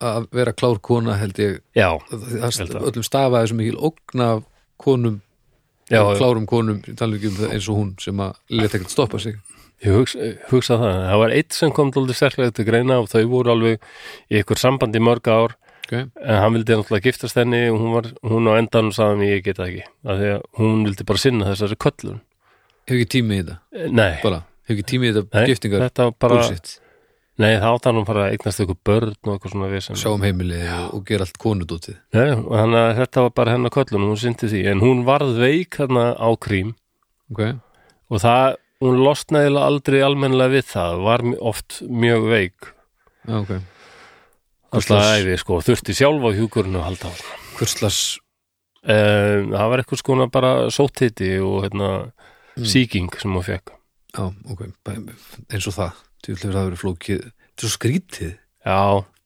að vera klár kona held ég
já,
það,
Held
það,
að.
öllum stafaði svo mikil ógn af konum,
já,
klárum konum ég tala ekki um það eins og hún sem að leta ekkert stoppa sig
ég hugsa, hugsa það það var einn sem kom daldið sérlega til greina og þau voru alveg í ykkur sambandi í mörg ár
okay.
en hann vildi náttúrulega giftast henni og hún, var, hún á endanum sagði mig ég geta ekki af því að hún vildi bara sinna þessari köllun
hefur ekki tími í þetta,
nei,
bara hefur ekki tími í þetta
Nei,
giftingar,
þetta var bara,
bullshit
nei það átt hann um bara að eignast ykkur börn og eitthvað svona vesen
sjá um heimilið og, og gera allt konudótið
Nei, og þannig að þetta var bara hennar köllun og hún syndi því, en hún varð veik hérna á krím
okay.
og það, hún losnaði eiginlega aldrei almennilega við það, var m- oft mjög veik,
Já, okay.
alltaf æfi sko og þurfti sjálf á hjúkurinu að halda á
Hvers
um, það var eitthvað skona bara sóttiti og hérna,
Mm.
sýking sem hún fekk
já, ok, bæ- eins og það þú hefur það verið flókið, þetta er svo skrítið
já,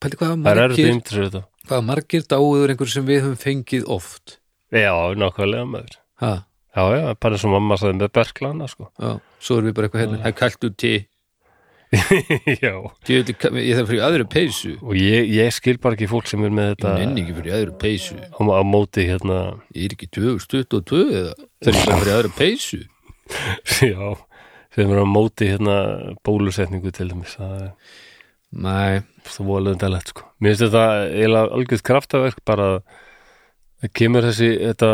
pæli hvað
það er erfitt
margir,
að ymta sér þetta
hvað margir dáiður einhver sem við höfum fengið oft
já, nákvæmlega maður
ha,
já, já, bara eins og mamma sagði með berklana sko
já, svo erum við bara eitthvað hérna það er kallt út til,
já
ég þarf fyrir aðra peysu
og ég, ég skil bara ekki fólk sem er með þetta
Ég nenni ekki fyrir aðra peysu Ég
á, á móti hérna
er ekki 2022 eða þegar ég bara fyrir aðra peysu
já, sem er á móti hérna bólusetningu til dæmis það er
Nei,
svo volendalegt sko mér finnst þetta eiginlega algjörð kraftaverk bara að- að kemur þessi þetta,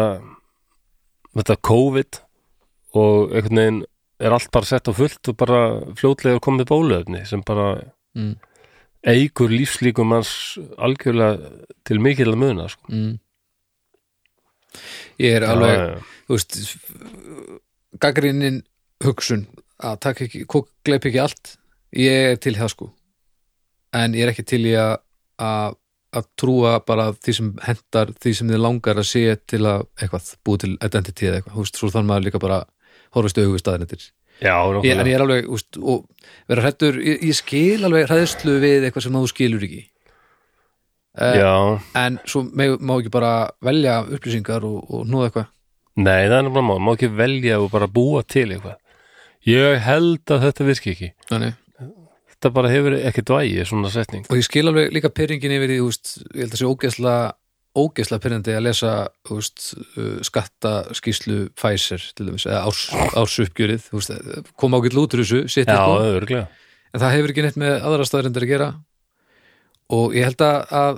þetta COVID og einhvern veginn er allt bara sett á fullt og bara fljótlega er komið bóluefni sem bara
Mm.
eigur lífslíkum hans algjörlega til mikil að muna sko.
mm. Ég er alveg
Já, já,
þú veist gaggrinnin hugsun að taka ekki, kók gleip ekki allt ég er til það sko en ég er ekki til í að að að trúa bara því sem hentar því sem þið langar að sé til að eitthvað, búið til identity eða eitthvað þú veist, svo þannig maður líka bara horfist auðvist staðinettir
já,
ég, en
nákvæmlega.
ég er alveg, úst, og vera hrættur ég, ég skil alveg hræðslu við eitthvað sem þú skilur ekki eh,
já
en svo megu, má ekki bara velja upplýsingar og, og nóða eitthvað
Nei, það er náttúrulega mál, má ekki velja og bara búa til eitthvað. Ég held að þetta virki ekki.
Þannig.
Þetta bara hefur ekki dvægi, svona setning.
og ég skil alveg líka pyrringin yfir því úst, ég held að sé ógeðsla ógeðsla pyrrandi að lesa úst, skatta skýslu Pfizer til dæmis, eða árs, ársuppgjörið úst, koma ágætt lútur þessu sitt
Já,
eitthvað.
öðruglega.
en það hefur ekki neitt með aðra staðarindir að gera og ég held að að,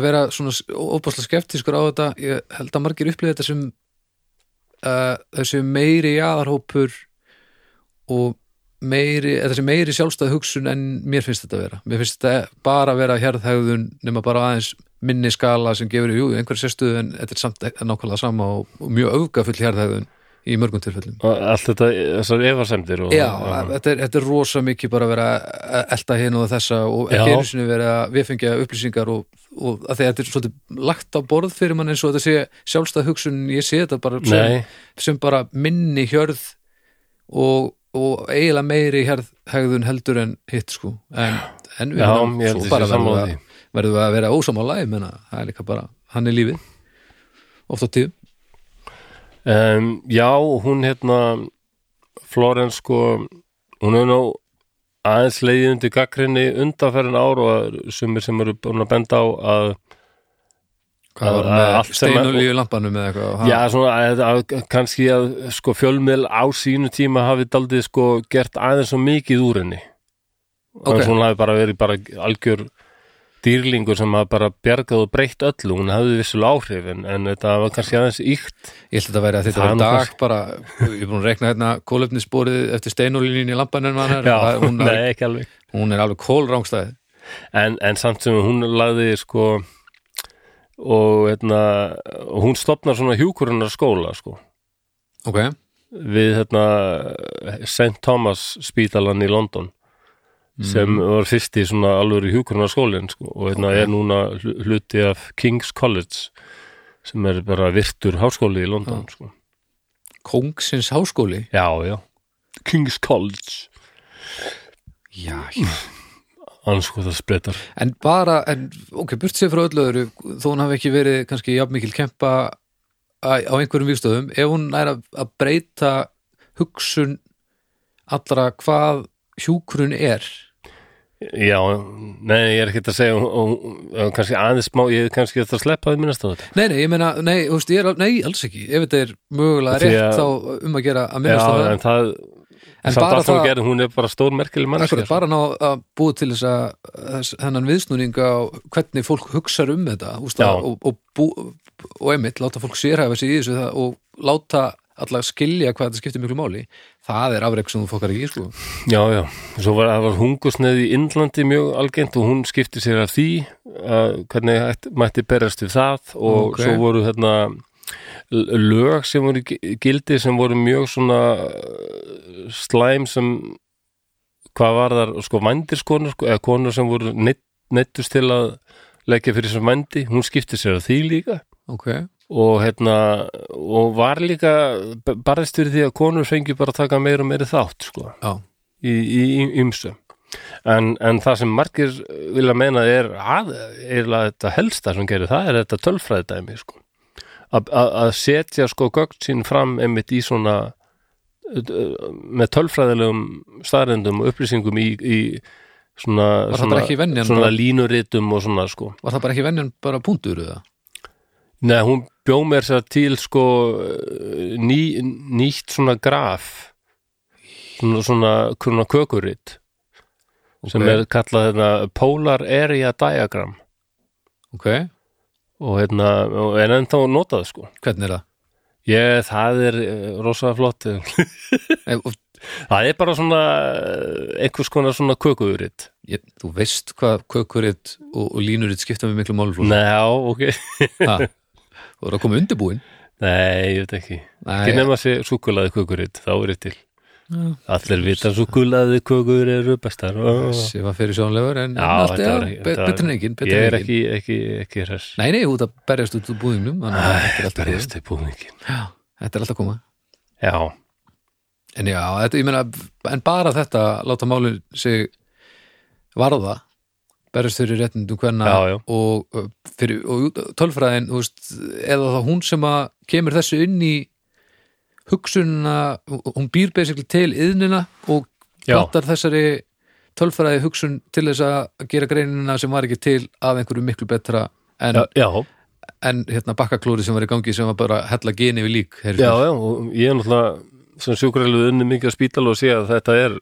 að vera svona óbáslega skeptiskur á þetta ég held að margir upplýði þetta sem uh, þessi meiri jaðarhópur og meiri, eða þessi meiri sjálfstæð hugsun en mér finnst þetta að vera mér finnst þetta bara að vera hérðhægðun nema bara aðeins minni skala sem gefur jú, einhverja sérstöðu en þetta er samt e- nákvæmlega sama og, og mjög öfgafull hérðhægðun í mörgum tilfellum
Og allt þetta, þessar efasemdir og...
Já, þetta er, þetta er rosa mikið bara að vera að elta hinn og þessa og ekki
Já.
einu sinni verið að viðfengja upplýsingar og, og að því að þetta er svolítið lagt á borð fyrir mann eins og þetta sé sjálfstæð hugsun ég sé þetta bara sem,
Nei,
sem bara minni hjörð og, og eiginlega meiri hjörð hegðun heldur en hitt sko en, en við
Já,
erum-
ég held
svo
ég sé
bara verðum
sammála
við, að, verðum við að vera ósamála ég menna, það er líka bara, hann er lífið oft á tíðum
um, já, hún hérna, Florence sko, hún er nú aðeins leiðið undir gaggrinni undanferðin ár og sumir sem eru búin að benda á að
hvað var
Að- að
hann
allt
með
sem að-
steinulíu lampanum eða eitthvað og hann-
Já, svona að, að, kannski að sko fjölmiðl á sínu tíma hafi daldið sko gert aðeins svo mikið úr henni
Ok.
okay. hún hafi bara verið bara algjör dýrlingur sem hafi bara bjargað og breytt öllu, hún hafi vissulega áhrif en, en þetta var kannski aðeins íkt
Ég held að þetta væri að þetta
Það
væri
er nú
dag bara, ég er búin að rekna hérna kólöfnisborið eftir steinólínin í lampanum hann er,
Já,
að hún, er-
nei, ekki alveg
hún er alveg kólrángstæð
en, en samt sem hún lagði sko og hérna, og hún stopnar svona hjúkurinnar skóla sko
ok,
við hérna St. Thomas spítalan í London sem var fyrsti svona alvöru hjúkrunarskólin sko, og
Mm.
hérna
Ok.
er núna hlu- hluti af King's College sem er bara virtur háskóli í London sko.
Kóngsins háskóli
já, já King's College
já,
anskoða sko, spretar
en bara, en, ok, burt sér frá öllu öðru þó hún hafi ekki verið kannski jafnmikil kempa að- á einhverjum vígstöðum ef hún er að, að breyta hugsun allra hvað hjúkrun er
já, nei, ég er ekkert að segja og, og, og kannski aðeins smá ég er kannski að það sleppa því minnast á þetta
nei, nei, ég meina, nei, þú veist, ég er, al- nei, alls ekki ef þetta er mögulega
Því að-
rétt þá um að gera að
já,
minnast á það
en það
En
samt
bara
allt hún
það-
gerir, hún er bara stórmerkileg mannskja
Akkurat, bara ná að búa til þess að þess- þennan viðsnúninga og hvernig fólk hugsar um þetta úst,
Já.
að, og, og, bú, og einmitt láta fólk sérhæfa sig í þessu það, og láta alla skilja hvað þetta skiptir miklu máli það er afreik sem þú fokkar ekki í sko.
Já, já, svo var, það var hungursneið í Indlandi mjög algengt og hún skipti sér af því að hvernig hætt, mætti berjast við það og
Ok.
svo voru hérna l- lög sem voru í gi- gildi sem voru mjög svona uh, slæm sem hvað var þar, sko, vændirskonur sko, eða konur sem voru neitt, neittust til að leggja fyrir sem vændi hún skipti sér af því líka
ok,
og hérna og var líka b- barðist fyrir því að konur fengi bara að taka meira og meira þátt sko
já,
í, í, í ymsu en, en það sem margir eh, vilja meina er að, er að þetta helsta sem gerir það er þetta tölfræðdæmi sko. að, að að setja sko gögn sín fram einmitt í svona uh, með tölfræðilegum staðrendum og upplýsingum í, í svona,
Var það
svona,
bara ekki venjan
svona
bara?
línuritum og svona sko
var það bara ekki venjan bara punktur eða?
Nei, hún bjó mér sér til sko eh, ný, nýtt svona graf svona, svona, svona kökuritt sem
Ok.
er kallað hérna, Polar Area Diagram
ok,
og hérna, og en ennþá notað sko
hvernig er það?
ég, það er eh, rosa flott
Nei, og,
það er bara svona eh, einhvers konar svona kökuritt
ég, þú veist hvað kökuritt og, og línuritt skipta með miklu máli flóð
Nei, já, ok
það voru að koma undirbúin
Nei, ég veit ekki
Nei,
ekki nema sé súkulaði kökuritt, þá er ég til
Já.
Allir vita súkulaði kökur eru bestar oh.
sem var fyrir sjónlegur en
Já,
en allt
þetta
er
var-
be-
þetta var-
betur en engin betur
ég
en
er
engin.
ekki, ekki, ekki hress
Nei, nei, út að berjast út úr búðingnum þannig að þetta er alltaf
bara
góð.
eftir búningin
Já, Þetta er alltaf að koma
já,
En já, þetta, ég meina, en bara þetta láta málin sig varða berjast fyrir réttindum hvenna
Já, já.
og, uh, fyrir, og jú- tölfræðin þú veist, eða þá hún sem að kemur þessu inn í hugsunina hún býr basically til yðnina og
Já.
plantar þessari tölfræði hugsun til þess að gera greinina sem var ekki til að einhverju miklu betra en
já, já,
en hérna bakkaklóri sem var í gangi sem var bara að hella geni við lík heyrðu.
já, já og ég er náttúrulega sem sjúkrælið unni mikið á spítal og sé að þetta er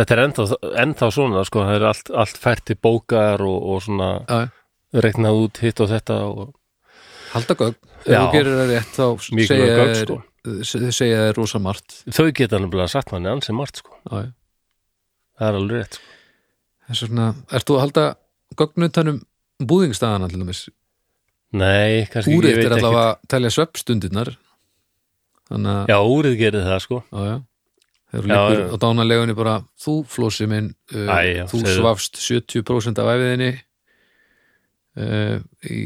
þetta er ennþá, ennþá svona sko, það er allt, allt fært til bókar og, og svona
Já,
reiknað út hitt og þetta og
halda gögn, ef
Já.
þú gerir það rétt þá
Mikilvæg
segja
gögn,
þér-
sko.
þau segja þér rosa margt
þau geta nefnilega satt manni ansi margt sko,
Já, já.
það er alveg rétt sko.
þess vegna, ert þú að halda gögn utanum búðingstaðana til dæmis,
nei, kannski ekki,
úrið
ég
er
veit ekki
allavega að telja sveppstundirnar þannig að
já, úrið gerir það sko
Já, já. Þegar
Já,
líkur
já.
á dánalegunni bara þú flósi minn, uh,
Æ, já,
þú
segðu.
svafst 70% af æfiðinni uh, í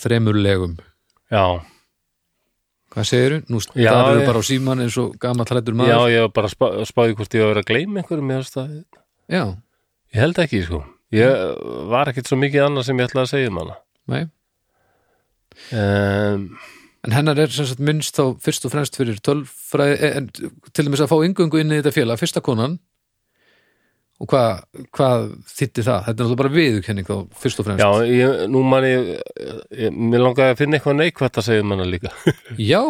þremur legum
já,
Hvað segirðu? Nú
Já,
starfur
ég-
bara á síman eins og gammal hlættur
já,
maður.
ég var bara að spá, spáði hvort ég var að vera að gleyma einhverjum mér það
Já, já.
Ég held ekki, sko. Ég var ekkit svo mikið annað sem ég ætlaði að segja um hana.
Nei.
Um,
En hennar er sem sagt minnst þá fyrst og fremst fyrir tölfræði, eh, en til dæmis að fá yngöngu inn í þetta félag, fyrsta konan og hvað hvað þýtti það? Þetta er náttúrulega bara viðurkenning þá fyrst og fremst.
já, ég, nú man ég, ég, mér langaði að finna eitthvað neikvætt að segja um hana líka.
Já,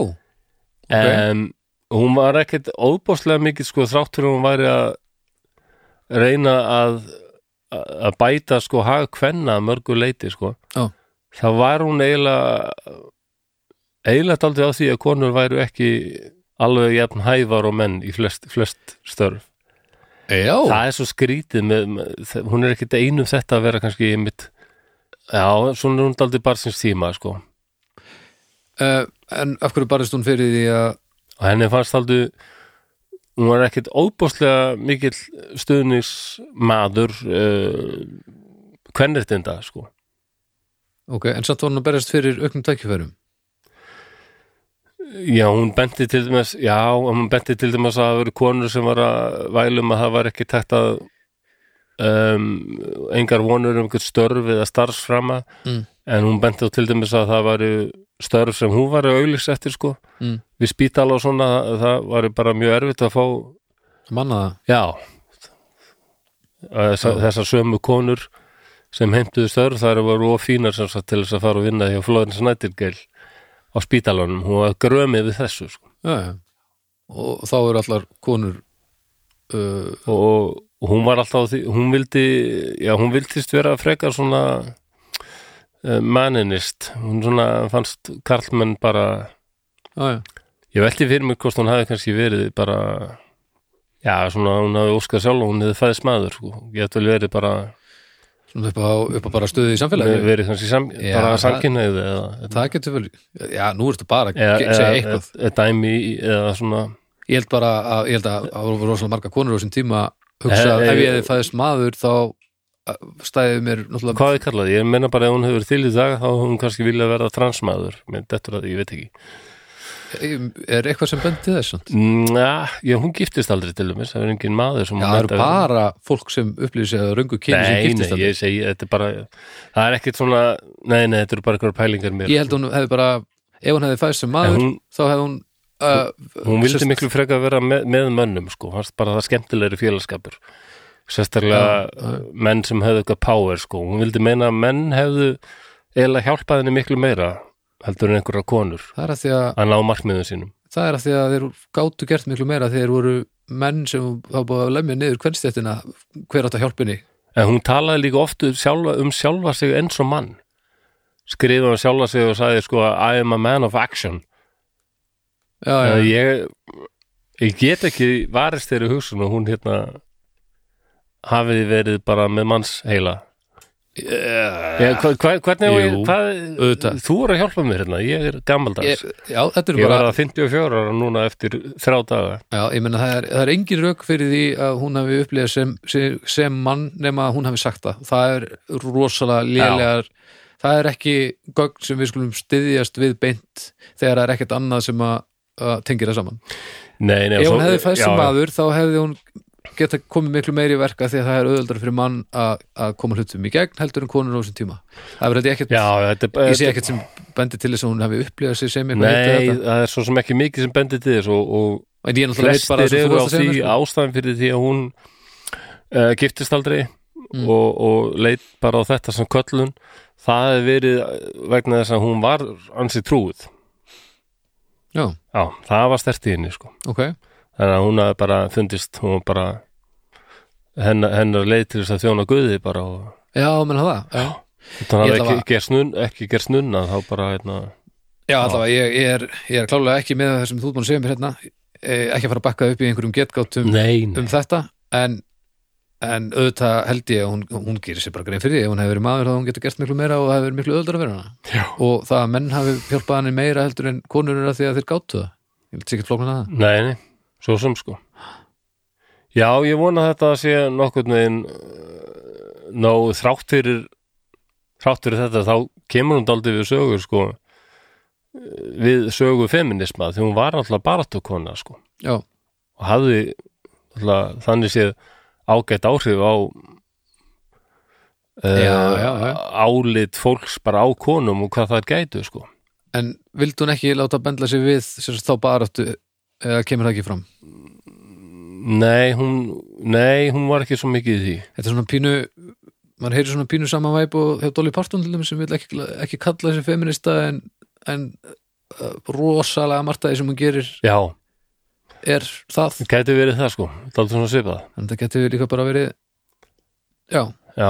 Um, hún var ekkit óbáslega mikið, sko, þráttur hún væri að reyna að, að bæta, sko, hag kvenna að mörgu leiti, sko.
Já.
Þá var hún eiginlega, eiginlega daldi á því að konur væru ekki alveg jafn hæfar og menn í flest, flest störf.
Já,
það er svo skrítið með, með, þe- hún er ekkit einum þetta að vera kannski mitt já, svona er hún daldið barsins tíma sko.
uh, en af hverju barist hún fyrir því að
og henni fannst aldrei hún var ekkit óbúslega mikill stuðningsmaður uh, kvennertinda sko.
ok, en samt var hún að berjast fyrir auknum tækifærum
já, hún benti til dæmis já, hún benti til dæmis að það voru konur sem var að vælum að það var ekki tætt að um, engar vonur um einhvern störf eða starfsframa
Mm.
en hún benti á til dæmis að það væri störf sem hún var að auglýs eftir sko
Mm.
við spítal og svona það var bara mjög erfitt að fá
manna það,
Já Þessa, þessar sömu konur sem heimtuðu störf þar voru of fínar sem sagt til þess að fara að vinna hjá Florence Nightingale á spítalanum hún var grömið við þessu sko.
já, já og þá eru allar konur uh,
og, og hún var alltaf á því, hún vildi já, hún vildist vera frekar svona uh, maninist hún svona fannst karlmenn bara
já, já,
ég velti fyrir mig hvort hún hafi kannski verið bara já, svona hún hafi óskað sjálf og hún hefði fæðist maður sko. ég ætti vel verið bara
svona upp á, upp á bara stöðu í samfélagi
Ver- verið kannski sam,
Já,
bara
það-
samkynneið eða,
það getur vel, já, nú ertu bara að
eða,
ge-
eða,
segja
eða,
eitthvað
eða dæmi í- eða svona
ég held bara að, ég held að það voru rosalega marga konur á þessum tíma hugsa að
Eh, eh,
ef ég hefði fæðist maður þá uh, stæði mér náttúrulega
hvað er kallað, ég menna bara ef hún hefur til í dag þá hefur hún kannski viljað vera transmaður með dettur að ég veit ekki
er eitthvað sem bendi þess samt?
Næ, já, hún giftist aldrei til dæmis, það er engin maður sem
Já,
hún
það eru
ætti að-
bara fólk sem upplýði sig að röngu kyni sem
Nei,
giftist
nei,
að
ég segi, þetta er bara það er ekkert svona, nei, nei, þetta eru bara einhverjar pælingar mér
ég held hún hefði bara ef hún hefði fæðist sem maður
En hún-
þá hefði hún uh,
hún vildi
sest-
miklu frekar vera með, með mönnum sko, fannst bara það skemmtilegri félagskapur sérstaklega uh, menn sem hefðu eitthvað power sko, hún vildi meina að menn hefðu eiginlega hjálpað henni miklu meira heldur en einhverja konur
það er að því að
að ná markmiðum sínum
það er að því að þeir gáttu gert miklu meira þegar þeir voru menn sem hafa búið að lemja niður kvennstættina hver átt að hjálpinni
en hún talaði líka oft um sjálfa, um sjálfa sig eins og mann skrifaði um sjálfa sig og sagði sko I am a man of action
já, já,
Þannig að ég, ég get ekki varist þeirri hugsun og hún hérna hafiði verið bara með manns heila
ég,
Já, hva, hva, hvernig á ég,
Jú,
hvað,
auðvitað.
þú eru að hjálpa mér hérna, ég er gammaldags.
ég, já þetta
Ég
er
var
bara
að 54 ára núna eftir þrjá daga.
já, ég meina það er, það er engin rauk fyrir því að hún hafi upplýðið sem, sem, sem mann nema að hún hafi sagt það það er rosalega lélegar það er ekki gögn sem við skulum styðjast við beint þegar það er ekkert annað sem að, að tengir það saman
Nei, nei,
ef
svo-
hún hefði fæst
já,
sem
já.
maður þá hefði hún geta komið miklu meiri í verka því að það er auðveldar fyrir mann að, að koma hlutum í gegn heldur en konur á þessum tíma það verður þetta ekkert,
Já, þetta er
ég sé ekkert sem bendi til þess að hún hafi upplifað sig sem eitthvað hitt eða
Nei,
þetta.
það er svo sem ekki mikið sem bendið til þess og, og
en ég náttúrulega veit bara
flestir
sem þú
eru á
varst að
því
segja mér,
ástæðan fyrir því að hún uh, giftist aldrei
Mm.
og, og leit bara á þetta sem köllun. Það hefði verið vegna þess að hún var ansi trúið.
sko. já,
Já, það var stert í henni, sko.
ok,
þannig að hún hafði bara fundist hún var bara hennar, hennar leið til þess að þjóna guði bara og
já, menn það já, Ég
þannig að hafði
ætla
ekki,
að-
gerst nun, ekki gerst nunna þá bara hérna,
já allavega, ég, ég, er, ég er klálega ekki með það sem þú er búin að segja mér hérna Eh, ekki að fara að bakka upp í einhverjum getgátum
nein
um þetta en, en auðvitað held ég að hún, hún gerir sér bara grein fyrir því ef hún hefur verið maður þá hún getur gert miklu meira og það hefur verið miklu öðuldar að vera hana
Já.
og það að menn hafi hjálpað hann meira heldur en konur er að því að þeir gátu það ég vil sikkert flóknan að það
nei, nei, svo sem sko já, ég vona að þetta sé nokkurn veginn eh, ná þrátt fyrir þrátt fyrir þetta þá kemur hún daldið við sögur sko eh, við sögu feminisma því hún var alltaf baratukona sko
já,
og hafði alltaf, þannig séð ágætt áhrif á eh,
Já, já, já.
álit fólks bara á konum og hvað það gætu sko.
en vildi hún ekki láta bendla sig við sem sagt þá bara áttu eða kemur það ekki fram
nei hún, nei, hún var ekki svo mikið í því
þetta er svona pínu maður heyrir svona pínu samanvæp og hjá Dolly Parton til þeim sem vil ekki, ekki kalla þessi feminista en, en uh, rosalega martaði sem hún gerir
já,
er það
það gæti verið það sko, það er svona svipað
en það getur líka bara verið já,
já,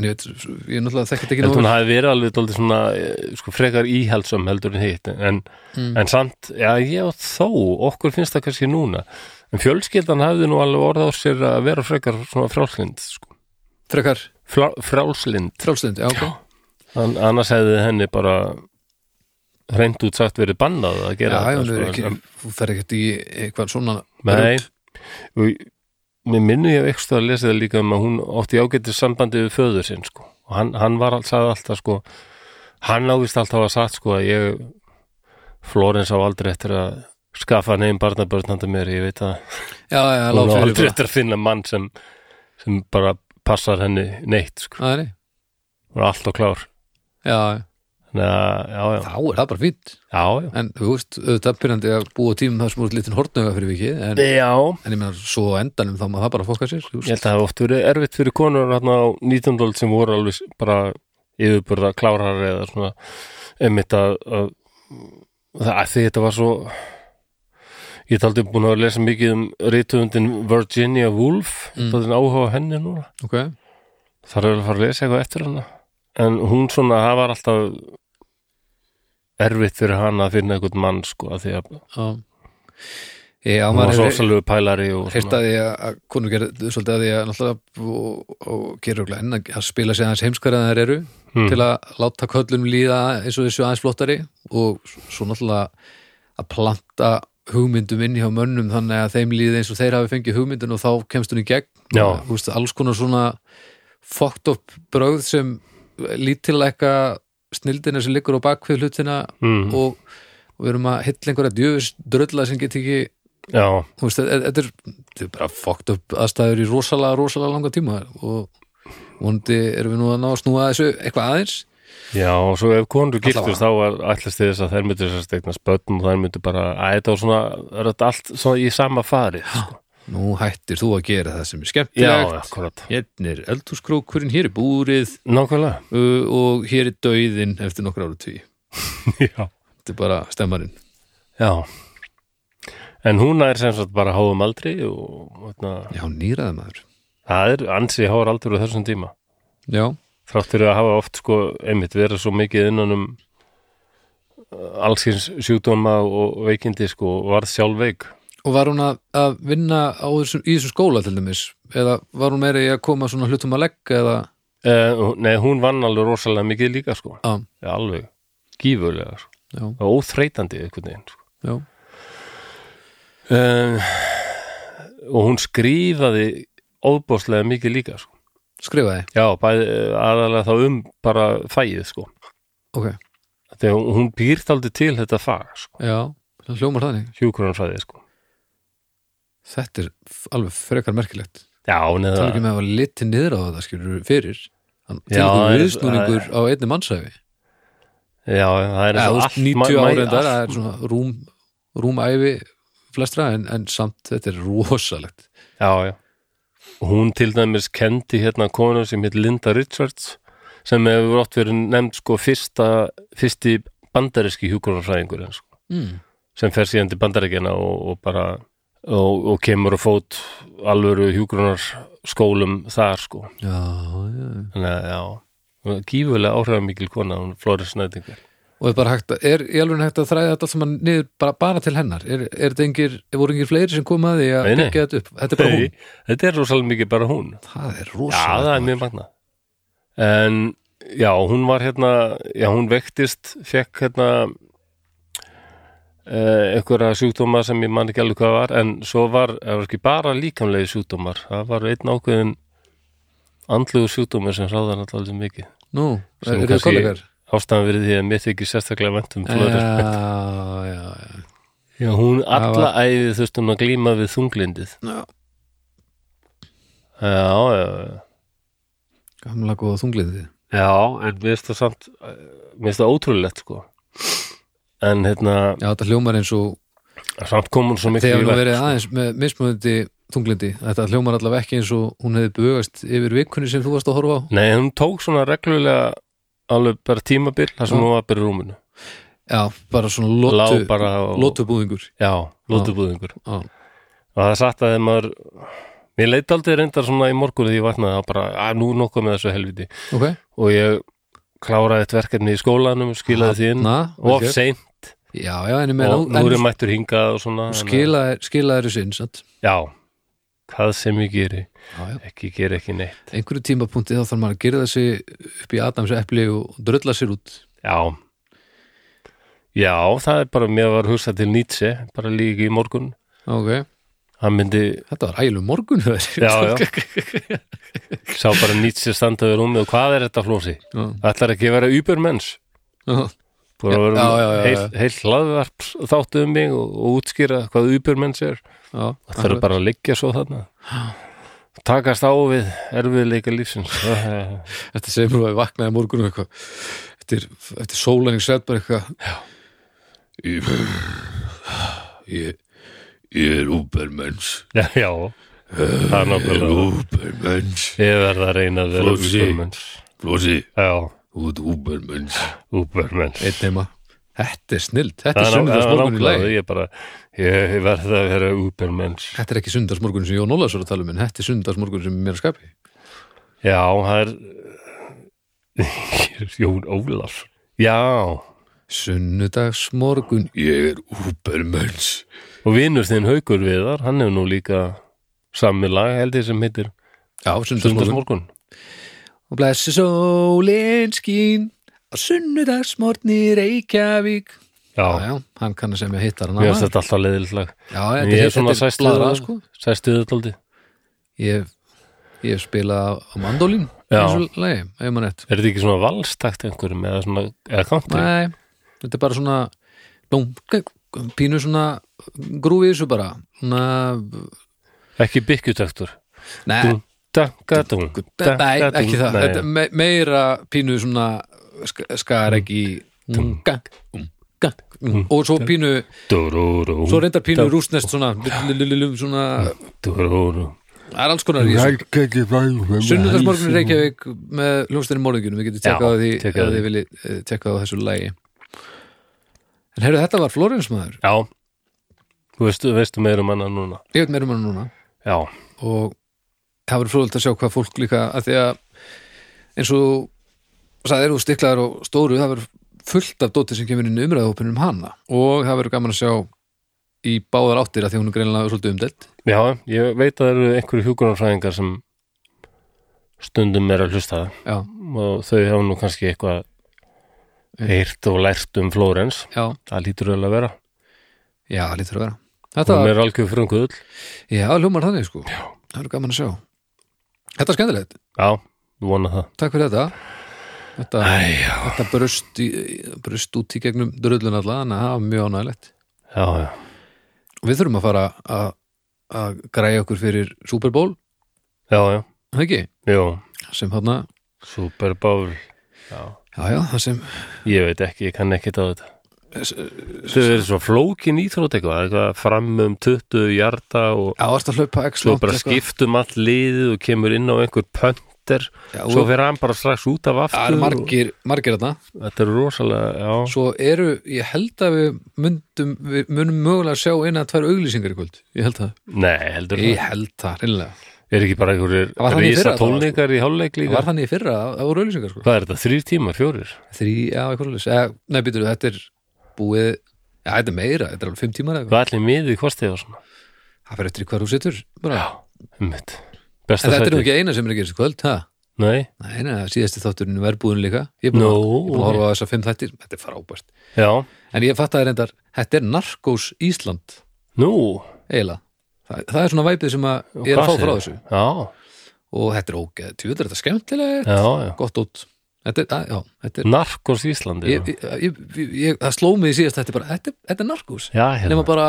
en ég veit, ég náttúrulega þekkit ekki
Ég held
nógu
hún
vel.
hafi verið alveg dálítið svona eh, sko, frekar íhaldsum heldur en hitt en,
Mm.
en samt, já ég og þó okkur finnst það kannski núna en fjölskyldan hafði nú alveg orð á sér að vera frekar svona frjálslind sko.
frekar
Frá, frjálslind,
frálstund, já, ok
An, annars hefði henni bara reynd út sagt verið bannað að
já,
gera
já,
þetta
hún er
sko,
ekki,
en-
hún fer ekkert í eitthvað svona
Nei,
rugl.
og mér minnur ég eitthvað að lesa það líka um að hún átti ágættis sambandi við föður sinn sko. og hann, hann var alls að alltaf sko, hann ávist alltaf að satt sko, að ég Flórens á aldrei eftir að skaffa neinn barnabörn handa mér, ég veit að
já, já,
hún á
lág
aldrei
fyrir bara
eftir að finna mann sem, sem bara passar henni neitt, sko.
Að, nei.
hún er alltaf klár
já, já.
Þannig að, já, já,
þá er það bara fínt
já,
en þú veist, auðvitað pyrrandi að búa á tímum þar sem voru lítinn hortnöga fyrir vikið en,
já Já,
en ég meina, svo á endanum þá maður það bara að fokka sér þú
ég
veist.
held að það hafa oft verið erfitt fyrir konur hann á 19. öld sem voru alveg bara yfirbörða klárar eða svona einmitt að, að, að, að því þetta var svo ég er aldrei búin að vera að lesa mikið um reytuðundin Virginia Woolf
Mm.
mm. það áhuga á henni núna
ok,
þar er að fara að lesa eitthvað eftir hana en hún svona, það var alltaf erfitt fyrir hana að finna einhvern mann sko að því að
já já,
hún var
maður
svo
hefur
ásalegu pælari og
heyrt að því að- að konur gerir svolítið að því að náttúrulega og, og gerir okkur enn að að spila sig aðeins heimskar að þær eru
Mm.
til að láta köllum líða eins og þessu aðeins flottari og s- svo náttúrulega að planta hugmyndum inn hjá mönnum þannig að þeim líði eins og þeir hafi fengið hugmyndin og þá kemst hún í gegn
Já.
Þú veist, alls konar svona fucked up brögð sem lítilækka snildina sem liggur á bakvið hlutina
mm,
og, og við erum að hylla einhverja djöfis drölla sem get ekki
já,
þú veist, þetta þetta er, þetta er bara fokkt upp aðstæður í rosalega, rosalega langa tíma og vondi erum við nú að ná að snúa þessu eitthvað aðeins
Já, og svo ef konur giftust
Allavega.
þá var ætlast þið þess að þær myndu þess að stegna spötn og þær myndu bara að þetta var svona er þetta allt svona í sama fari sko.
nú hættir þú að gera það sem er
Já,
skemmtilegt
akkurat
hérna er eldhúskrókurinn, hér er búrið
Nákvæmlega
uh, og hér er dauðinn eftir nokkra ára tví
Já.
þetta er bara stemmarinn
Já En hún er sem sagt bara háum aldri og veitna,
já, nýraði maður
það er ansi háar aldur á þessum tíma
já,
þrátt fyrir að hafa oft sko einmitt verið svo mikið innan um uh, allsins sjúkdóma og veikindi sko og varð sjálf veik
og var hún að, að vinna á þessum, í þessum skóla til dæmis eða var hún meiri í að koma svona hlutum að leggja eða,
uh, Nei, hún vann alveg rosalega mikið líka sko
á,
Já, alveg, gífurlega sko.
já,
og óþreytandi einhvern veginn sko.
já
uh, og hún skrifaði óbóðslega mikið líka sko.
skrifaði,
já, bæði, eh, aðalega þá um bara fæið sko.
ok,
þegar hún, hún býrt aldrei til þetta fag sko.
já það hljómar þannig
hjúkurunarfæði sko.
Þetta er f- alveg frekar merkilegt
já,
Það er ekki um-
neða,
með að hafa litið niður á þetta skilur fyrir Hann
Já,
til
það
ykkur
er-
viðsnúningur á einni mannsæfi
já, það er
ja,
eins og
úst,
allt
90
ma- ma-
ára en það
allt-
er svona rúm, rúmæfi flestra en, en samt þetta er rosalegt
já, já Og hún til dæmis kendi hérna konu sem heit Linda Richards sem hefur oft verið nefnd sko fyrsta, fyrsti bandaríski hjúkurunarfræðingur sko.
mm.
sem fer síðan til bandarækjana og, og bara og, og kemur á fót alvöru hjúgrunar skólum þar sko
Já, já
þannig að já, hún er gífulega áhrifamikil kona hún Flóris Nætingar
Og er bara hægt að, er í alveg hægt að þræða þetta allt saman niður bara, bara til hennar Er, er þetta engir, voru engir fleiri sem kom að því að
Nei, nei.
byggja þetta upp Þetta er bara hún
þetta er rosalega mikið bara hún
Það er
já, það
rosalegt
er mjög magna en já, hún var hérna já, hún vektist, fekk hérna eh, einhverja sjúkdóma sem ég man ekki alveg hvað var en svo var, það var ekki bara líkamlegi sjúkdómar það var einn ákveðin andlugu sjúkdómar sem ráðan alltaf mikið
Nú,
Sem
eru þið
kannski-
kollegar?
ástæðan verið því að mér þykir sérstaklega vænt um
Já,
Flóris
já, já
Já, hún alla
var-
æði þurftum að glíma við þunglindið
Já.
Já, já, já
Gamla góða þungliðið
Já, en mér finnst það samt eh, mér finnst það ótrúlegt sko en hérna,
Já, þetta hljómar eins og
samt kom hún svo miklu
þegar
í
hún
verk.
verið aðeins með mismunandi tunglindi þetta hljómar allavega ekki eins og hún hefði bugast yfir vikunni sem þú varst að horfa á
Nei, hún tók svona reglulega alveg bara tímabil, þar sem
Já.
hún var bara í rúminu
Já, bara svona
Lá
lotu,
bara og,
lotubúðingur
Já, lótubúðingur
Já,
og það er satt að þegar maður Mér leit aldrei reyndar svona í morgun því ég vaknaði að bara, að nú nokkuð með þessu helviti
ok,
og ég kláraði eitt verkefni í skólanum, skilaði því inn
na,
of seint
já, já, en ég meina
og nú er
en
ég mættur hingað og svona en-
skila, skila eru sinn, sant
Já, hvað sem ég geri
já, já.
ekki geri ekki neitt
einhverju tímapunkti þá þarf maður að gera þessi upp í Adams epli og drölla sér út
Já Já, það er bara, mér var hugsað til Nietzsche bara líka í morgun
ok,
hann myndi,
þetta var ægileg morgun
já, já sá bara Nietzsche standaði rúmi og hvað er þetta flósi?
Já.
Ætlar ekki að vera übermenns
já,
búin að vera
Já, já, já, já.
heil, heil hlaðvarp þáttu um mig og, og útskýra hvað übermenns er
já,
og það er bara að liggja svo þarna takast á við erfiðleika lífsins
Þetta segir mér að ég vaknaði að morgunum eitthvað eftir, eftir sólæning sveit bara eitthvað Já Ég, ég, ég er úbermens
já, já, það er
Ég er
nákvæmlega
úbermens
ég verð að reyna að vera
Flósi.
übermenns
Flósi,
já,
þú ert úbermens
übermenns
Einn heima Þetta er snild, þetta
það
er
er ná- það er
sunnudagsmorgun í
nákvæmlega
lagi
ég bara, ég verð að vera übermenns
Þetta er ekki sunnudagsmorgun sem Jón Ólafsson er að tala um en þetta er sunnudagsmorgun sem mér er að skapi
já, það er Jón Ólafs já,
Sunnudagsmorgun Ég er úbermens
og vinnur þinn haukur viðar, hann hefur nú líka sami lag held ég sem heitir
Já, sunnudagsmorgun
Sundarsmorgun
Og blessi sólin skín á sunnudagsmorgni í Reykjavík Já,
Já,
já, hann kann að segja mér hittar hann
mér finnst þetta alltaf leiðilegt lag
Já, þetta
Ég
er
er svona
þetta er
sæstuð
blaðra, sko
Sæstuð þetta aldrei
Ég, ég spila á mandólin
Já.
eins og lagi, ef maður nett
Er þetta ekki svona valstakt einhverjum eða svona, eða country?
Nei, þetta er bara svona blóm, pínu svona grúfið þessu bara svona,
Ekki byggutaktur
Nei,
Dangadung
nei, ekki það Þetta er me meira pínu svona sk skar ekki unga, unga, unga og svo pínu,
Dururu
svo reyndar pínu rústnest svona, lulululum, svona
Dururu
það er alls konar í þessu Sunnudagsmorgun í Reykjavík með hljómsveitinni Morðingjunum, við getum tjekkað á
Já,
því ef
tjekkað á því.
þið viljið eh, tjekkað á þessu lægi En heyrðu, þetta var Florens maður
Já Þú veistu, veistu meira um hana núna
Ég veit meira um hann núna
Já,
og það verður fróðult að sjá hvað fólk líka að því að eins og sagði eru stiklaðar og stóru það verður fullt af dóti sem kemur inn í umræðahópinum um hana og það verður gaman að sjá í báðar áttir að því hún er greinilega svolítið umdelt
já, ég veit að það eru einhverju hjúkurarfræðingar sem stundum er að hlusta það
Já,
og þau hafa nú kannski eitthvað heyrt og lært um Flórens
já,
það lítur vel að vera
já, lítur að vera Þetta
hún
var,
er algjör frunguðull
já, hljómar þannig sko já. það verður gaman að sjá Þetta er skemmtilegt
já, ég vona það
Takk fyrir þetta Þetta,
Æjá.
þetta bröst, í, bröst út í gegnum dröllun alla þannig að það var mjög ánægilegt
já, já,
og við þurfum að fara að, að græja okkur fyrir Super Bowl
já, já,
er það ekki,
já.
Það sem þarna
superbál já.
já já, það sem
ég veit ekki, ég kann ekkit á þetta þau eru svo flókin íþrótt eitthvað, eitthvað fram um 20 hjarta og
já, varst að hlaupa x
svo
langt
bara
eitthvað.
skiptum all liðið og kemur inn á einhver pönter
Já,
svo
og-
fer hann bara strax út af
það eru
aftur og,
margir, margir þarna
þetta er rosalega, já,
svo eru, ég held að við myndum, við munum mögulega sjá eina að tvær auglýsingar í kvöld, ég held það
nei, heldur það
ég held það, reynilega,
er ekki bara
Það var þannig
einhverjir
í fyrra,
rísa
það var
tónleikar í hálfleik
það
líka
var þannig í fyrra að það voru auglýsingar sko
hvað er þetta, þrýr tímar, fjórir?
þrý, já, eitthvað leys nei, býtur, þetta er búið já, þetta er meira, þetta er alveg fimm tímar eða eitthvað.
Hvað allir miðið kostið og svona?
Það fyrir eftir hvar þú situr bara.
Ummitt.
En
Besta
þetta er nú
sætið.
ekki eina sem er að gera þessu kvöld ha?
Nei,
Nei, neða, síðasti þátturinn er verbúðin líka Ég er búin að-
Nú,
ég er búin að
ok.
horfa á þessa fimm þættir Þetta er frábært
já.
En ég fatt að það er endar, þetta er narkós Ísland
Nú,
eiginlega Það, það er svona væpið sem að ég er að fá
segir
frá
það?
þessu
Já,
Og þetta er ógeð, tjúður þetta er skemmtilegt
já, já.
Gott út Þetta er, að, já, þetta er
Narkos Íslandi.
ég, ég, ég, ég, ég, Það sló mig í síðast þetta er bara, þetta, er- þetta er narkós
já, hérna.
Nefna bara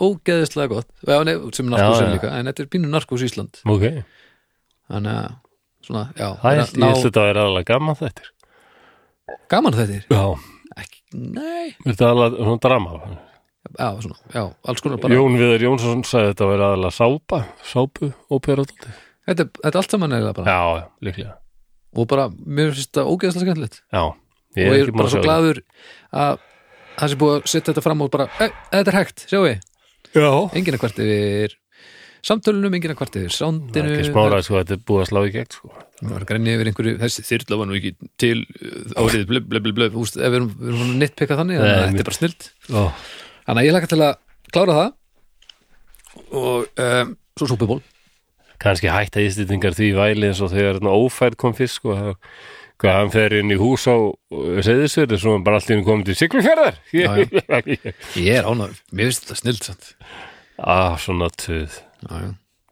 ógeðislega gott já, nef, Sem narkós
Já,
er
já.
líka, en þetta er pínu narkós Ísland
Ok,
Þannig að, svona, já
það
er
er,
að
ég held þetta að vera aðalega gaman þettir.
Gaman þetta
Já.
ekki, nei
Þetta er aðalega svona drama.
já, svona, já, alls konar bara
Jón Viðar Jónsson sagði þetta að vera aðalega sápa, sápu, óperadóti.
þetta, er- þetta er allt saman eiginlega bara
Já, já, líklega.
og bara, mér finnst þetta ógeðslega skemmtilegt
Já,
og
ég er
ég er
ekki búin
bara
að
svo
sjá þetta.
glaður að það sé búið að setja þetta fram og bara, "Ei, þetta er hægt, sjáu við
Já,
enginn er hvert yfir samtölunum, enginn að kvartiðir
það er
sándinu,
ekki smára sko, þetta er búið að slá í gegn sko.
Það var grænni yfir einhverju, þessi þyrla var nú ekki til uh, árið, blöf, blöf, blöf, blöf úst, ef við erum, við erum nitpeka þannig, þannig að
Nei,
þetta
mér-
er bara snilt
Ó,
Þannig að ég laka til að klára það og
ehm,
um, svo súpiból
kannski hætta ístýtingar því væli eins og þegar þarna ófærð kom fyrst sko, það- hvað hann fer inn í hús á seðisverði, svo hann bara allt í henni komið til siglufjörðar
Ég er ánæður, mér finnst þetta snilt samt
ah, svona töð
Já, já.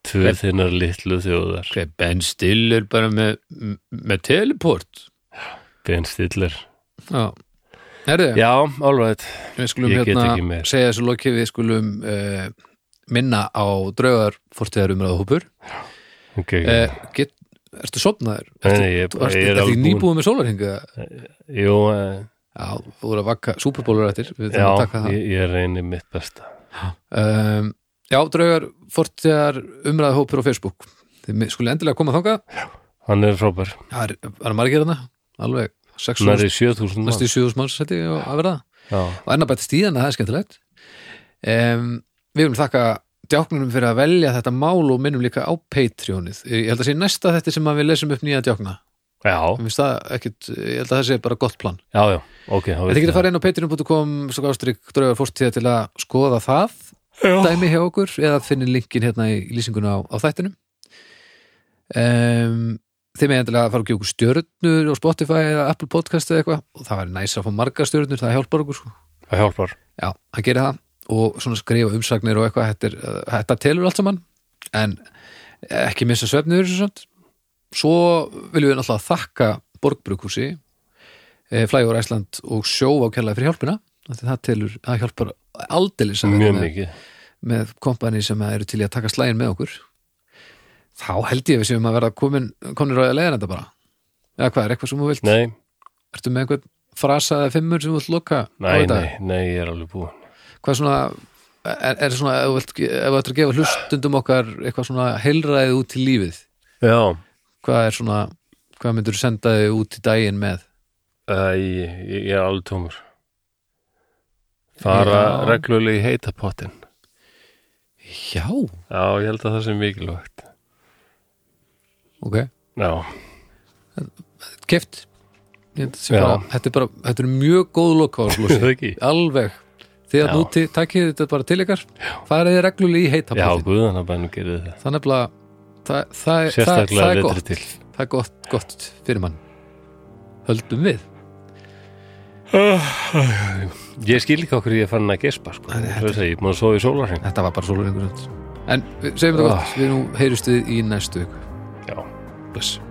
töð þinnar litlu þjóðar
Ok, Ben Still er bara með, með teleport
Ben Stiller
Já, herðu,
já, alveg
við skulum
Ég get ekki
hérna
meir.
segja þessu loki, við skulum uh, minna á draugar fortíðarumræðahúpur
okay,
uh, get, Ertu sopnaður?
Nei, ég,
Ertu, ertu,
ég er
ertu
alveg búin
nýbúið með sólarhinga?
Jú, eh,
Já, þú voru að vakka súperbólur eftir við þurfum að taka
já,
það
ég, ég reynir mitt besta
um, Já, draugar, fortjar, umræðahópur á Facebook Þið mi- skulle endilega koma þangað
Hann er frábær,
Það er, það er margir hana, alveg 6.000
nærri 7000 manns.
næstu 7.000 manns hætti að verða
Já,
og enn að bæta stíðan, það er skemmtilegt um, Við viljum þakka djáknunum fyrir að velja þetta mál og minnum líka á Patreonið Ég held að sé næsta þetta sem að við lesum upp nýja djákna
já,
Mér finnst það ekkit, ég held að það sé bara gott plan
já, já, ok þá
En þið
veit
getur
ég
farið inn á patreon.com svo ástrygg draugar fórstíða til að skoða það
Já.
dæmi hjá okkur eða finnir linkin hérna í lýsinguna á, á þættinum um, Þið með endilega að fara og gefa okkur stjörnur og Spotify eða Apple Podcast eða eitthvað og það væri næs að fá margar stjörnur, það hjálpar okkur sko.
það. Það hjálpar
Já, það gerir það og svona skrifa umsagnir og eitthvað þetta, er, uh, þetta telur allt saman en ekki missa svefnir þessu samt svo viljum við náttúrulega þakka Borgbrukhúsi Flægur Æsland og sjó ákjærlega fyrir hjálpina af því það telur, það hjálpar aldeilis að vera
mjög
með,
mikið
með kompani sem eru til í að taka slægin með okkur þá held ég að við séum að vera komin, komin ráðið að leiðan þetta bara eða hvað, er eitthvað sem þú vilt?
Nei,
Ertu með einhvern frasa eða fimmur sem þú vilt loka á
nei,
þetta?
nei, nei, ég er alveg búin
hvað svona er, er svona, ef þú vilt- ef þú ættir að gefa hlustundum okkar eitthvað svona heilræðið út til lífið
Já,
hvað er svona, hvað myndur senda þau út í daginn með
uh, ég, ég er alveg tómur Fara
Já.
reglulega í heita pottin
já,
Já, ég held að það sé mikilvægt
ok,
Já,
keft þetta
Já.
er bara, þetta er bara, þetta er mjög góð
það
lokáðslúsi,
ekki
alveg þið að
Já.
núti, takkið þetta bara til ykkar farið þið reglulega í heita
Já,
pottin
guðanabænum gerir það
það er nefnilega það, það, það, það,
Sérstaklega
er
letri
gott
til
það er gott, gott fyrir mann höldum við
Ég skil ekki okkur ég fann að gespa sko. Það er að segja, maður svo í sólarheng
Þetta var bara svolur einhvern En við segjum þetta
Ah.
gott, við nú heyrjumst við í næstu viku
Já
Bless